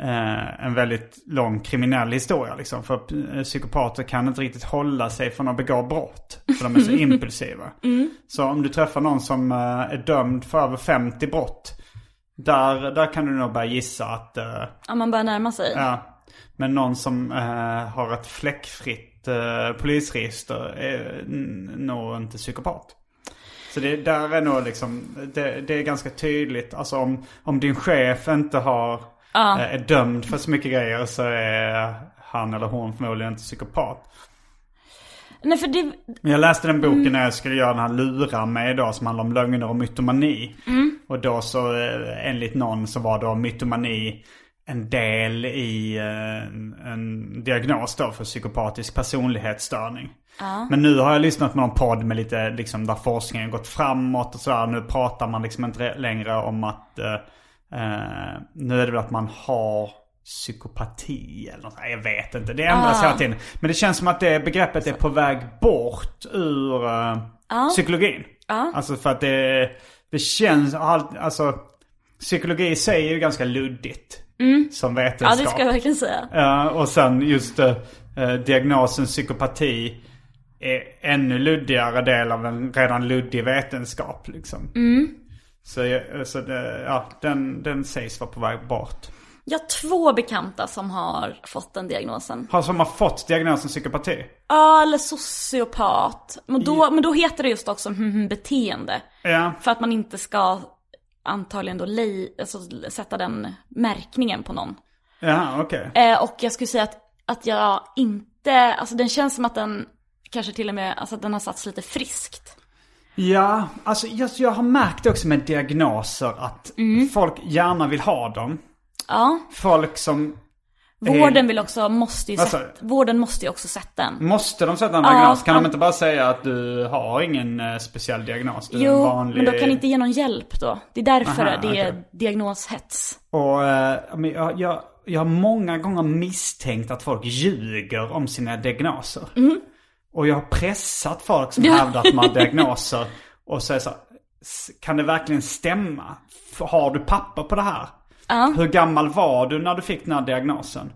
Speaker 2: eh, en väldigt lång kriminell historia. Liksom. För p- psykopater kan inte riktigt hålla sig från att begå brott. För
Speaker 3: <laughs>
Speaker 2: de är så impulsiva.
Speaker 3: Mm.
Speaker 2: Så om du träffar någon som eh, är dömd för över 50 brott. Där, där kan du nog börja gissa att... eh,
Speaker 3: Ja, man börjar närma sig.
Speaker 2: ja, men någon som eh, har ett fläckfritt eh, polisregister är n- nog inte psykopat. Så det där är nog liksom, det, det är ganska tydligt. Alltså om, om din chef inte har, eh, är dömd för så mycket grejer så är han eller hon förmodligen inte psykopat.
Speaker 3: Nej, för det...
Speaker 2: Men jag läste den boken när jag skulle göra den här Lura mig idag som handlar om lögner och mytomani. Och då så eh, enligt någon så var då mytomani en del i eh, en, en diagnos då för psykopatisk personlighetsstörning. Men nu har jag lyssnat på någon podd med lite liksom där forskningen gått framåt och sådär. Nu pratar man liksom inte re- längre om att eh, eh, nu är det väl att man har psykopati eller något. Nej, Jag vet inte. Det ändras
Speaker 3: Ah.
Speaker 2: hela tiden. Men det känns som att det begreppet är på väg bort ur eh, psykologin. Alltså för att det, det känns, all- alltså psykologi i sig är ju ganska luddigt. Som
Speaker 3: Mm. Ja,
Speaker 2: vetenskap.
Speaker 3: det ska jag verkligen säga.
Speaker 2: Ja, och sen just eh, eh, diagnosen psykopati är ännu luddigare del av en redan luddig vetenskap. Liksom.
Speaker 3: Mm.
Speaker 2: Så, jag- så det, ja, den, den sägs vara på väg bort.
Speaker 3: Jag har två bekanta som har fått den diagnosen.
Speaker 2: Har som har fått diagnosen psykopati?
Speaker 3: Ja, eller sociopat. Men då, men då heter det just också hm, hm, beteende.
Speaker 2: Ja.
Speaker 3: För att man inte ska antagligen då lej, alltså, sätta den märkningen på någon.
Speaker 2: Ja, okej.
Speaker 3: Eh, och jag skulle säga att, att jag inte, alltså den känns som att den kanske till och med, alltså att den har satts lite friskt.
Speaker 2: Ja, alltså jag, jag har märkt också med diagnoser att
Speaker 3: Mm.
Speaker 2: folk gärna vill ha dem.
Speaker 3: Ja,
Speaker 2: Folk som
Speaker 3: vården vill också, måste ju
Speaker 2: Vad sa
Speaker 3: sätta, vården måste ju också sätta en.
Speaker 2: Måste de sätta en
Speaker 3: Ja,
Speaker 2: diagnos? Kan
Speaker 3: an-
Speaker 2: de inte bara säga att du har ingen eh, speciell diagnos? Du är en
Speaker 3: Jo,
Speaker 2: vanlig...
Speaker 3: men de kan inte ge någon hjälp då. Det är därför
Speaker 2: Aha,
Speaker 3: det
Speaker 2: okej.
Speaker 3: är diagnoshets.
Speaker 2: Och eh, men jag, jag, jag har många gånger misstänkt att folk ljuger om sina diagnoser. Och jag har pressat folk som hävdar att de har diagnoser. Och säger så här, "S- kan det verkligen stämma? F- Har du papper på det här? Hur gammal var du när du fick den här diagnosen?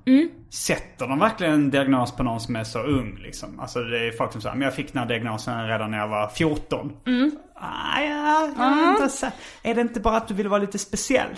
Speaker 2: Sätter de verkligen en diagnos på någon som är så ung liksom? Alltså det är folk som säger, men jag fick den här diagnosen redan när jag var 14. Ah, ja, jag är, inte så... är det inte bara att du vill vara lite speciell?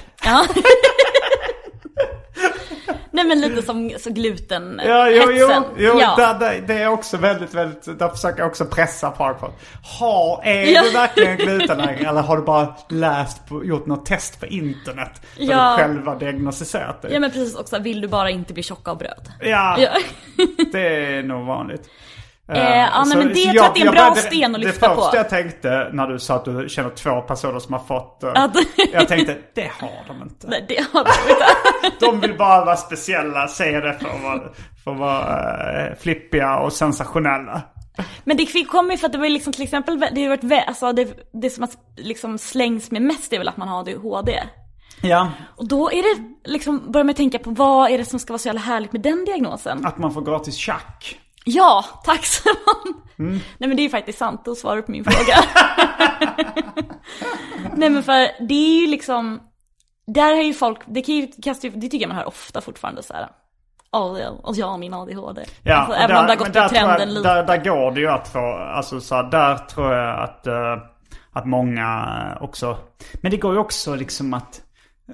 Speaker 3: Nej men lite som, som gluten
Speaker 2: Ja, jo, jo,
Speaker 3: hetsen.
Speaker 2: jo
Speaker 3: ja.
Speaker 2: Där, där, det är också väldigt, väldigt, där försöker jag också pressa folk på. Har, är
Speaker 3: Ja.
Speaker 2: du verkligen glutenallergiker eller har du bara läst, på, gjort något test på internet? Där
Speaker 3: Ja.
Speaker 2: du själv har diagnostiserat dig?
Speaker 3: ja men precis också, vill du bara inte bli tjock av bröd?
Speaker 2: Ja,
Speaker 3: Ja.
Speaker 2: <laughs> det är nog vanligt.
Speaker 3: Eh, ja, nej, men det- jag tror att det är en bra sten att lyfta
Speaker 2: Det första
Speaker 3: på.
Speaker 2: jag tänkte när du sa att du känner två personer som har fått eh,
Speaker 3: Att-
Speaker 2: Jag tänkte, det har de inte.
Speaker 3: Nej, det har du inte.
Speaker 2: De vill bara vara speciella, säga det för att vara, för att vara eh, flippiga och sensationella.
Speaker 3: Men det fick- kommer ju för att det var ju liksom till exempel, det har ju varit, vä- alltså det, det som att liksom slängs med mest är väl att man har ADHD.
Speaker 2: Ja.
Speaker 3: Och då är det liksom, börjar man tänka på vad är det som ska vara så jävla härligt med den diagnosen?
Speaker 2: Att man får gratis schack.
Speaker 3: Ja, tack Simon!
Speaker 2: Mm.
Speaker 3: Nej men det är ju faktiskt sant, då svarar du på min fråga. <laughs> Nej men för det är ju liksom, där har ju folk, det kan ju kasta det tycker jag man hör ofta fortfarande så här. "Ja, ja, Och jag och min ADHD. alltså, även om det har gått
Speaker 2: men
Speaker 3: på
Speaker 2: tror
Speaker 3: trenden
Speaker 2: jag,
Speaker 3: lite.
Speaker 2: Där, där går det ju att få, alltså så här, där tror jag att, eh, att många eh, också, men det går ju också liksom att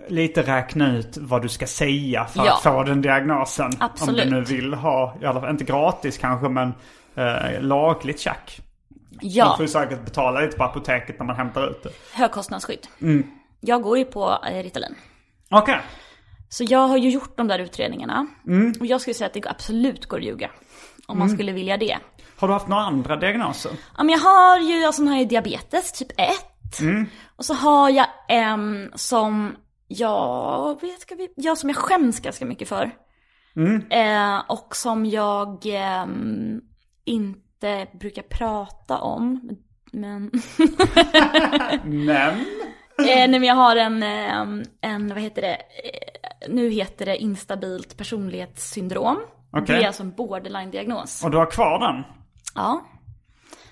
Speaker 2: lite räkna ut vad du ska säga för
Speaker 3: Ja.
Speaker 2: att få den diagnosen.
Speaker 3: Absolut.
Speaker 2: Om du nu vill ha, i alla fall, inte gratis kanske men eh, lagligt tjack. Man
Speaker 3: ja.
Speaker 2: får ju säkert betala lite på apoteket när man hämtar ut det.
Speaker 3: högkostnadsskydd.
Speaker 2: Mm.
Speaker 3: Jag går ju på eh, Ritalin.
Speaker 2: Okej.
Speaker 3: Så jag har ju gjort de där utredningarna.
Speaker 2: Mm.
Speaker 3: Och jag skulle säga att det absolut går att ljuga. Om man skulle vilja det.
Speaker 2: Har du haft några andra diagnoser?
Speaker 3: Ja, men jag har ju, alltså, nu har jag ju diabetes typ 1. Och så har jag en som jag, vet, ska vi, ja, som jag skäms ganska mycket för. Eh, och som jag ehm, inte brukar prata om. Men <laughs>
Speaker 2: Men?
Speaker 3: Eh, nej men jag har en, eh, en, vad heter det, eh, nu heter det instabilt personlighetssyndrom.
Speaker 2: Okej.
Speaker 3: Det är alltså en borderline-diagnos.
Speaker 2: Och du har kvar den?
Speaker 3: Ja.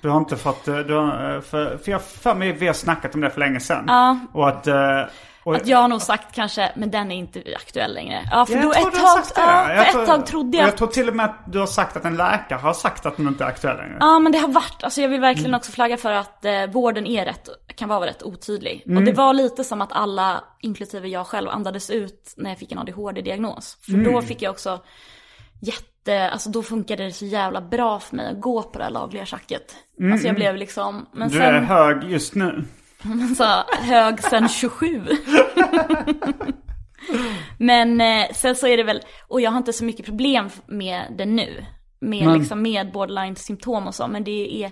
Speaker 2: Du har inte fått... eh, Du har, eh, för, för jag har för mig vi har snackat om det för länge sedan.
Speaker 3: Ja.
Speaker 2: Och att... eh, Och,
Speaker 3: Att jag har nog sagt kanske, men den är inte aktuell längre. Ja, för
Speaker 2: Ja,
Speaker 3: då
Speaker 2: jag tror
Speaker 3: ett
Speaker 2: du har
Speaker 3: tag,
Speaker 2: sagt det.
Speaker 3: ja,
Speaker 2: Jag
Speaker 3: för
Speaker 2: tror-
Speaker 3: ett tag trodde
Speaker 2: och
Speaker 3: jag.
Speaker 2: Jag tror till och med att du har sagt att en läkare har sagt att den inte är aktuell längre.
Speaker 3: Ja, men det har varit, alltså jag vill
Speaker 2: Mm.
Speaker 3: verkligen också flagga för att eh, vården är rätt, kan vara rätt otydlig.
Speaker 2: Mm.
Speaker 3: Och det var lite som att alla, inklusive jag själv, andades ut när jag fick en ADHD-diagnos. För
Speaker 2: Mm.
Speaker 3: då fick jag också jätte, alltså då funkade det så jävla bra för mig att gå på det här lagliga schacket. Alltså jag blev liksom, men
Speaker 2: Mm. Du är
Speaker 3: sen
Speaker 2: hög just nu.
Speaker 3: så Alltså, hög sen 27. Men eh, sen så är det väl, och jag har inte så mycket problem f- med det nu. Med, liksom, med borderline-symptom och så, men det är,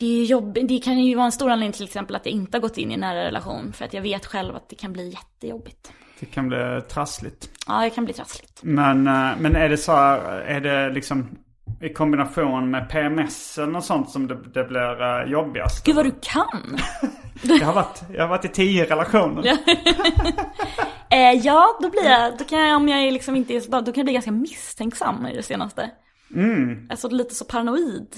Speaker 3: det är jobbigt. Det kan ju vara en stor anledning till exempel att jag inte har gått in i en nära relation. För att jag vet själv att det kan bli jättejobbigt.
Speaker 2: Det kan bli trassligt.
Speaker 3: Ja, det kan bli trassligt.
Speaker 2: Men, eh, men är det så här, är det liksom i kombination med PMS eller något sånt som det, det blir eh,
Speaker 3: <laughs>
Speaker 2: jobbigast?
Speaker 3: Gud vad du kan!
Speaker 2: Jag har varit, jag har varit i tio relationer.
Speaker 3: Eh, ja, då blir jag, då kan jag, om jag är liksom inte är så bra, då kan jag bli ganska misstänksam i det senaste. Alltså lite så paranoid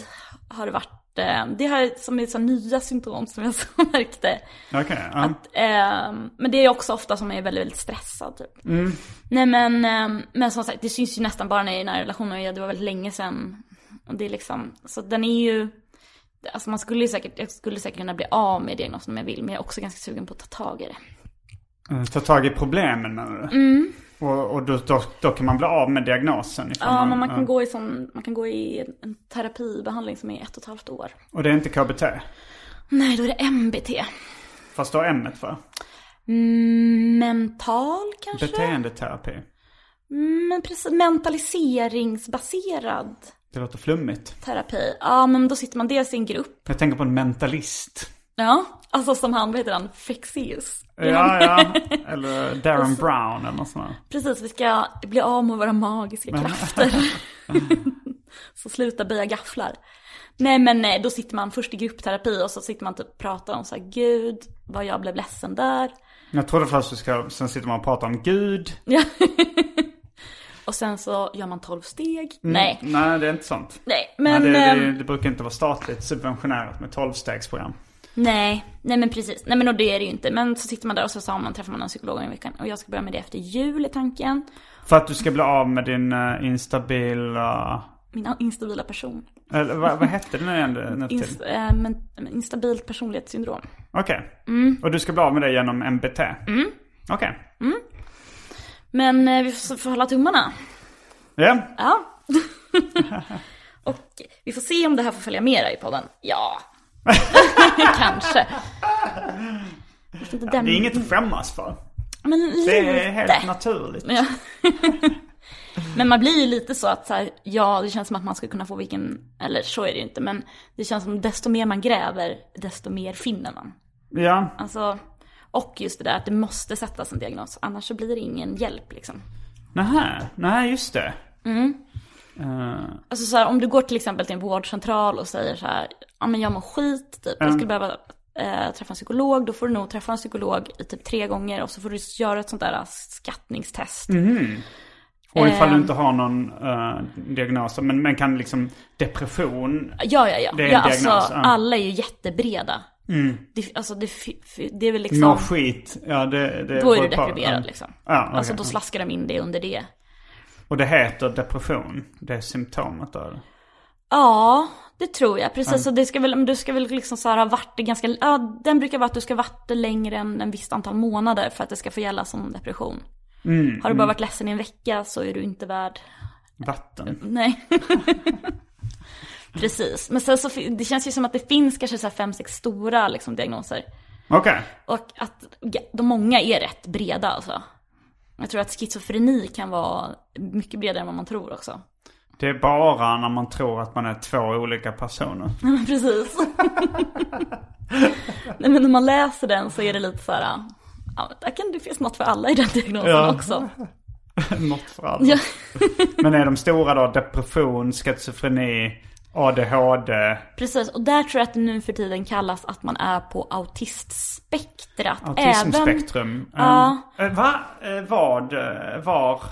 Speaker 3: har det varit. Eh, det här som är så nya symptom som jag <laughs> så märkte.
Speaker 2: Okej, ja.
Speaker 3: Eh, men det är också ofta som jag är väldigt, väldigt stressad typ. Nej men, eh, men som sagt, det syns ju nästan bara när jag är i nära relationer och jag- det var väldigt länge sedan. Och det är liksom, så den är ju, alltså man skulle ju säkert, jag skulle säkert kunna bli av med diagnosen om jag vill, men jag är också ganska sugen på att ta tag i det.
Speaker 2: Eh, Ta tag i problemen menar du?
Speaker 3: Mm.
Speaker 2: Och, och då, då, då kan man bli av med diagnosen? ifall
Speaker 3: Ja, men man kan,
Speaker 2: eh,
Speaker 3: gå i sån, man kan gå i en- en terapibehandling som är ett och ett halvt år.
Speaker 2: Och det är inte KBT?
Speaker 3: Nej, då är det MBT.
Speaker 2: Fast då är ämnet för?
Speaker 3: Mm, Mental kanske?
Speaker 2: Beteendeterapi?
Speaker 3: Mm, Men precis, mentaliseringsbaserad
Speaker 2: Det låter flummigt.
Speaker 3: terapi. Ja, men då sitter man dels i en grupp.
Speaker 2: Jag tänker på en mentalist.
Speaker 3: Ja, alltså som han, vad heter han, Fexeus.
Speaker 2: Ja, ja.
Speaker 3: <laughs>
Speaker 2: Eller Darren
Speaker 3: Alltså-
Speaker 2: Brown eller något sånt där.
Speaker 3: Precis, vi ska bli av med våra magiska krafter. <laughs> så sluta böja gafflar. Nej men nej, då sitter man först i gruppterapi och så sitter man typ och pratar om så här, gud, vad jag blev ledsen där.
Speaker 2: Jag trodde först vi ska, sen sitter man och pratar om Gud.
Speaker 3: Ja. och sen så gör man 12 steg. Nej,
Speaker 2: Nej, det är inte sånt.
Speaker 3: nej, men...
Speaker 2: Nej, det, det,
Speaker 3: ehm,
Speaker 2: det brukar inte vara statligt subventionerat med tolvstegsprogram.
Speaker 3: Nej, nej men precis. Nej men och det är det ju inte. Men så sitter man där och så sa man, träffar man en psykolog en veckan. Och jag ska börja med det efter jul i tanken.
Speaker 2: För att du ska bli av med din eh, instabila...
Speaker 3: Min instabila person.
Speaker 2: Eller vad, vad hette det nu igen? nu för
Speaker 3: Ins-
Speaker 2: tiden?
Speaker 3: eh, men, men instabilt personlighetssyndrom.
Speaker 2: Okej. Och du ska bli av med det genom MBT? Mm. Okej.
Speaker 3: Men eh, vi får, får hålla tummarna.
Speaker 2: Ja.
Speaker 3: Ja. <laughs> och vi får se om det här får följa med i podden. Ja. <laughs> Kanske. Jag vet inte, den-
Speaker 2: Det är inget att skämmas för.
Speaker 3: men
Speaker 2: Det är
Speaker 3: lite.
Speaker 2: helt naturligt.
Speaker 3: Ja. men man blir ju lite så att så här, ja, det känns som att man skulle kunna få vilken, eller så är det ju inte, men det känns som desto mer man gräver, desto mer finner man.
Speaker 2: Ja.
Speaker 3: Alltså, och just det där att det måste sättas en diagnos, annars så blir det ingen hjälp liksom.
Speaker 2: Nähä. Nej, just det.
Speaker 3: Alltså så här, om du går till exempel till en vårdcentral och säger så här, ja men jag mår skit, typ. jag skulle
Speaker 2: Mm.
Speaker 3: behöva eh, träffa en psykolog, då får du nog träffa en psykolog i typ tre gånger och så får du göra ett sånt där äh, skattningstest.
Speaker 2: Mhm. Och
Speaker 3: Ehm.
Speaker 2: ifall du inte har någon eh, diagnos, men, men kan liksom depression,
Speaker 3: Ja, ja, ja.
Speaker 2: Det är en
Speaker 3: ja
Speaker 2: diagnos,
Speaker 3: alltså,
Speaker 2: ja.
Speaker 3: alla är ju jättebreda. Det, alltså, det, fi- fi- det är väl liksom...
Speaker 2: mår skit, ja det... det
Speaker 3: då är du
Speaker 2: beror på.
Speaker 3: deprimerad
Speaker 2: Ja.
Speaker 3: liksom.
Speaker 2: Ja, okej.
Speaker 3: Alltså då slaskar de in det under det.
Speaker 2: Och det heter depression, det är symptomet då? eller?
Speaker 3: Ja, det tror jag. Precis, så det ska väl, men du ska väl liksom så här ha varit det ganska... Ja, den brukar vara att du ska ha varit det längre än en visst antal månader för att det ska få gälla som depression.
Speaker 2: Mm,
Speaker 3: har du bara varit ledsen i en vecka så är du inte värd...
Speaker 2: Vatten. <laughs>
Speaker 3: Nej. Precis, men sen så fi- det känns ju som att det finns kanske så här fem, sex stora liksom, diagnoser.
Speaker 2: Okej.
Speaker 3: Och att de många är rätt breda alltså. Jag tror att schizofreni kan vara mycket bredare än vad man tror också. <laughs>
Speaker 2: Det är bara när man tror att man är två olika personer. <laughs>
Speaker 3: Precis. Nej men när man läser den så är det lite så här, ja, där kan det finns något för alla i den diagnosen
Speaker 2: Ja.
Speaker 3: också.
Speaker 2: Något för alla.
Speaker 3: Ja.
Speaker 2: Men är de stora då depression, schizofreni, ADHD?
Speaker 3: Precis, och där tror jag att det nu för tiden kallas att man är på autistspektrat. Även-
Speaker 2: Autismspektrum?
Speaker 3: Ja.
Speaker 2: Eh, Va? Eh, Vad? Eh, Var?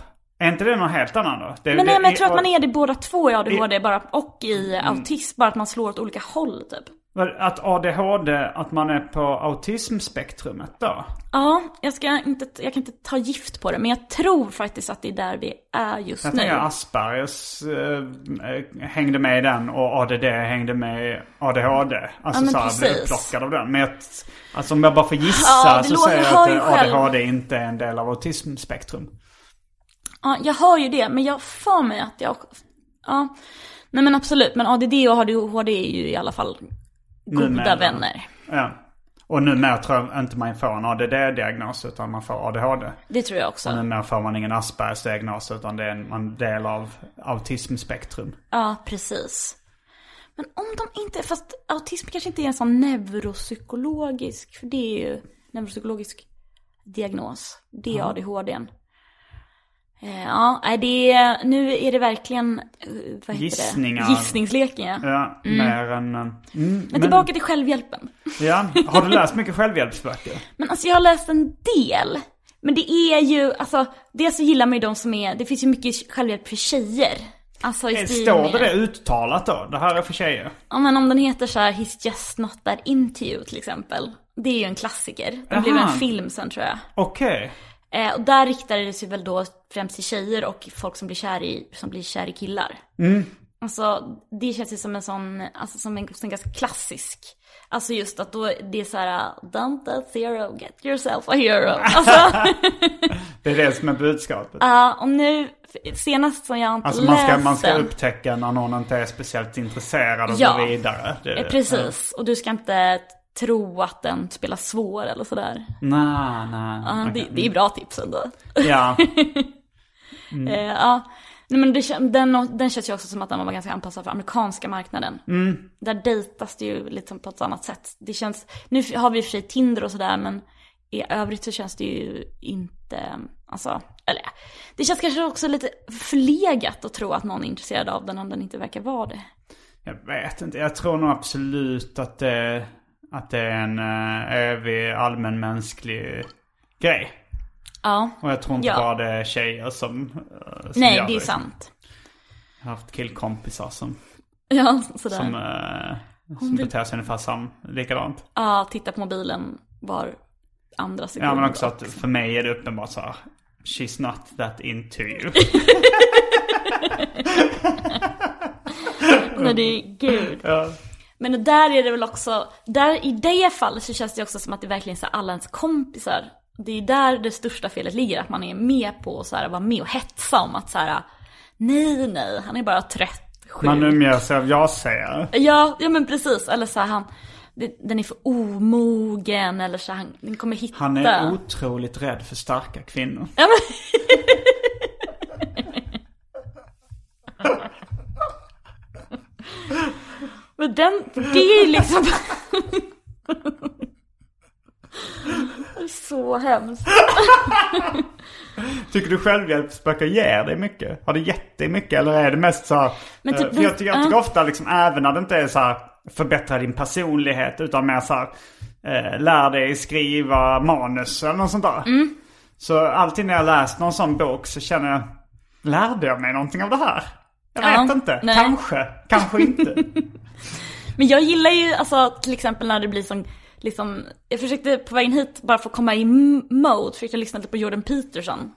Speaker 2: Är inte det någon helt annan då? Det,
Speaker 3: Men, nej,
Speaker 2: det-
Speaker 3: men jag tror att man är det båda två i
Speaker 2: I-
Speaker 3: ADHD bara, och i autism, bara att man slår åt olika håll typ.
Speaker 2: Att ADHD, att man är på autismspektrumet då?
Speaker 3: Ja, jag, ska inte, jag kan inte ta gift på det, men jag tror faktiskt att det är där vi är just
Speaker 2: Jag
Speaker 3: nu.
Speaker 2: tänker Aspergers eh, hängde med i den och ADD hängde med i ADHD. Alltså
Speaker 3: men
Speaker 2: så här, blev
Speaker 3: precis.
Speaker 2: upplockad av den. Men jag, alltså om jag bara får gissa
Speaker 3: Ja, det
Speaker 2: så
Speaker 3: låter-
Speaker 2: säger
Speaker 3: jag hör
Speaker 2: jag
Speaker 3: ju
Speaker 2: att eh,
Speaker 3: själv.
Speaker 2: ADHD inte är en del av autismspektrum.
Speaker 3: Ja, jag hör ju det, men jag för mig att jag... Ja, nej men absolut. Men ADD och ADHD är ju i alla fall goda
Speaker 2: Numera.
Speaker 3: vänner.
Speaker 2: Ja. Och numera tror jag inte man får en ADD-diagnos utan man får ADHD.
Speaker 3: Det tror jag också.
Speaker 2: Numera får man ingen Aspergers-diagnos utan det är en man del av autismspektrum.
Speaker 3: Ja, precis. Men om de inte... Fast autism kanske inte är en sån neuropsykologisk, för det är ju neuropsykologisk diagnos. Det är ADHDn. Eh, Ja, nej, det är, nu är det verkligen eh, vad heter
Speaker 2: Gissningar. Eh,
Speaker 3: Det? Gissningsleken, ja.
Speaker 2: Ja, mer än... eh, Mm,
Speaker 3: Men tillbaka till självhjälpen.
Speaker 2: Ja, har du läst mycket självhjälpsböcker?
Speaker 3: <laughs> Men alltså jag har läst en del. Men det är ju, alltså, dels så gillar man ju de som är, det finns ju mycket självhjälp för tjejer. Alltså i
Speaker 2: Eh,
Speaker 3: stil
Speaker 2: Står
Speaker 3: med-
Speaker 2: det det uttalat då? Det här är för tjejer.
Speaker 3: Ja men om den heter så här He's just not that into you till exempel. Det är ju en klassiker. Det blev
Speaker 2: Aha.
Speaker 3: en film sen tror jag.
Speaker 2: Okej.
Speaker 3: Eh, och där riktade det sig väl då främst till tjejer och folk som blir kär i, som blir kär i killar. Mm. Alltså det känns ju som en sån, alltså som en, som en ganska klassisk. Alltså just att då det är så här don't that zero, get yourself a
Speaker 2: <laughs>
Speaker 3: hero. Alltså,
Speaker 2: Det är det som är budskapet.
Speaker 3: ja, och nu, senast som jag inte
Speaker 2: alltså man
Speaker 3: läst
Speaker 2: ska, man ska
Speaker 3: den.
Speaker 2: upptäcka när någon inte är speciellt intresserad och
Speaker 3: Ja.
Speaker 2: gå vidare. Det,
Speaker 3: Eh, Precis, och du ska inte tro att den spelar svår eller sådär.
Speaker 2: Nej, nej.
Speaker 3: Ja,
Speaker 2: okej.
Speaker 3: det, det är bra tips ändå. <laughs>
Speaker 2: Ja, Mm.
Speaker 3: Eh, ja. Nej, men det, kän- den, den känns ju också som att den var ganska anpassad för amerikanska marknaden.
Speaker 2: Mm.
Speaker 3: Där dejtas det ju liksom på ett annat sätt. Det känns, nu har vi i och för sig Tinder och sådär men i övrigt så känns det ju inte, alltså, eller det känns kanske också lite förlegat att tro att någon är intresserad av den om den inte verkar vara det.
Speaker 2: jag vet inte. Jag tror nog absolut att det, att det är en eh, evig allmänmänsklig grej.
Speaker 3: Ja,
Speaker 2: Och jag tror inte
Speaker 3: Ja.
Speaker 2: bara det är tjejer som, eh, som
Speaker 3: nej
Speaker 2: gör
Speaker 3: det är sant. <laughs>
Speaker 2: Jag har haft killkompisar som,
Speaker 3: Ja, sådär.
Speaker 2: som, eh, som beter sig ungefär sam, likadant.
Speaker 3: Ja, titta på mobilen var andra sekund.
Speaker 2: Ja men också att för mig är det uppenbart så här. She's not that into
Speaker 3: <laughs>
Speaker 2: you.
Speaker 3: Nej, det är gud.
Speaker 2: Mm. Ja.
Speaker 3: Men där är det väl också, där i det fallet så känns det också som att det verkligen är så här alla ens kompisar. Det är där det största felet ligger, att man är med på och så här, vara med och hetsa om att så här, nej, nej, han är bara trött, sjuk.
Speaker 2: Man umgör sig av jag säger.
Speaker 3: Ja, ja men precis. Eller så här, han, det- den är för omogen eller så här, han, den kommer hitta.
Speaker 2: Han är otroligt rädd för starka kvinnor.
Speaker 3: Ja, men... men den, det är ju liksom... Det är Så hemskt.
Speaker 2: Tycker du självhjälpsböcker ger dig mycket? Har det gett dig mycket eller är det mest så här,
Speaker 3: Men typ
Speaker 2: eh, för jag
Speaker 3: den-
Speaker 2: tycker, jag tycker
Speaker 3: ja.
Speaker 2: ofta liksom även när det inte är så här förbättra din personlighet utan mer så här eh, lär dig skriva manus eller något sånt där.
Speaker 3: Mm.
Speaker 2: Så alltid när jag läst någon sån bok så känner jag, lärde jag mig någonting av det här? Jag
Speaker 3: Ja,
Speaker 2: vet inte,
Speaker 3: nej.
Speaker 2: kanske, kanske
Speaker 3: <laughs>
Speaker 2: inte.
Speaker 3: Men jag gillar ju alltså till exempel när det blir sån, liksom, jag försökte på vägen hit bara få komma i m- mode, försökte lyssna lite på Jordan Peterson.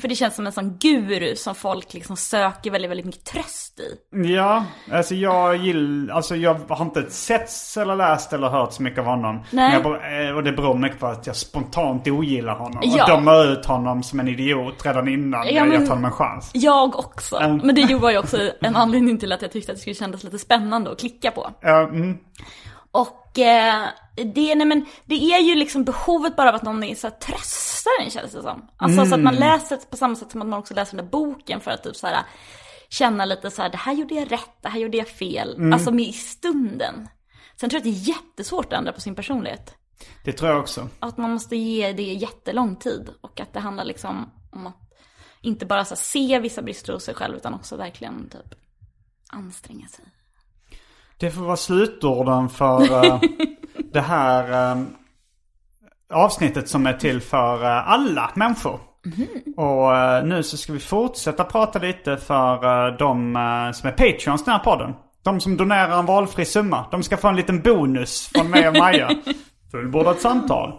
Speaker 3: För det känns som en sån guru som folk liksom söker väldigt, väldigt mycket tröst i.
Speaker 2: Ja, alltså jag gillar, alltså jag har inte sett eller läst eller hört så mycket av honom.
Speaker 3: Nej.
Speaker 2: Men jag, bara- eh, och det beror mycket på att jag spontant ogillar honom.
Speaker 3: Ja.
Speaker 2: Och dömer ut honom som en idiot redan innan jag
Speaker 3: men-
Speaker 2: gett honom en chans.
Speaker 3: Jag också. Men det var ju också en anledning till att jag tyckte att det skulle kännas lite spännande att klicka på.
Speaker 2: Ja, mm.
Speaker 3: Och eh, det, nej men, det är ju liksom behovet bara av att någon är så här, tröstar en känns det som. Alltså så att man läser på samma sätt som att man också läser den där boken för att typ så här, känna lite så här, det här gjorde jag rätt, det här gjorde jag fel. Alltså med i stunden. Sen tror jag att det är jättesvårt att ändra på sin personlighet.
Speaker 2: Det tror jag också.
Speaker 3: Att man måste ge det jättelång tid och att det handlar liksom om att inte bara så här, se vissa brister hos sig själv utan också verkligen typ anstränga sig.
Speaker 2: Det får vara slutorden för eh, det här eh, avsnittet som är till för eh, alla människor. Och eh, nu så ska vi fortsätta prata lite för eh, de eh, som är patreons i den här podden. De som donerar en valfri summa. De ska få en liten bonus från mig och Maja. Fullbordat samtal.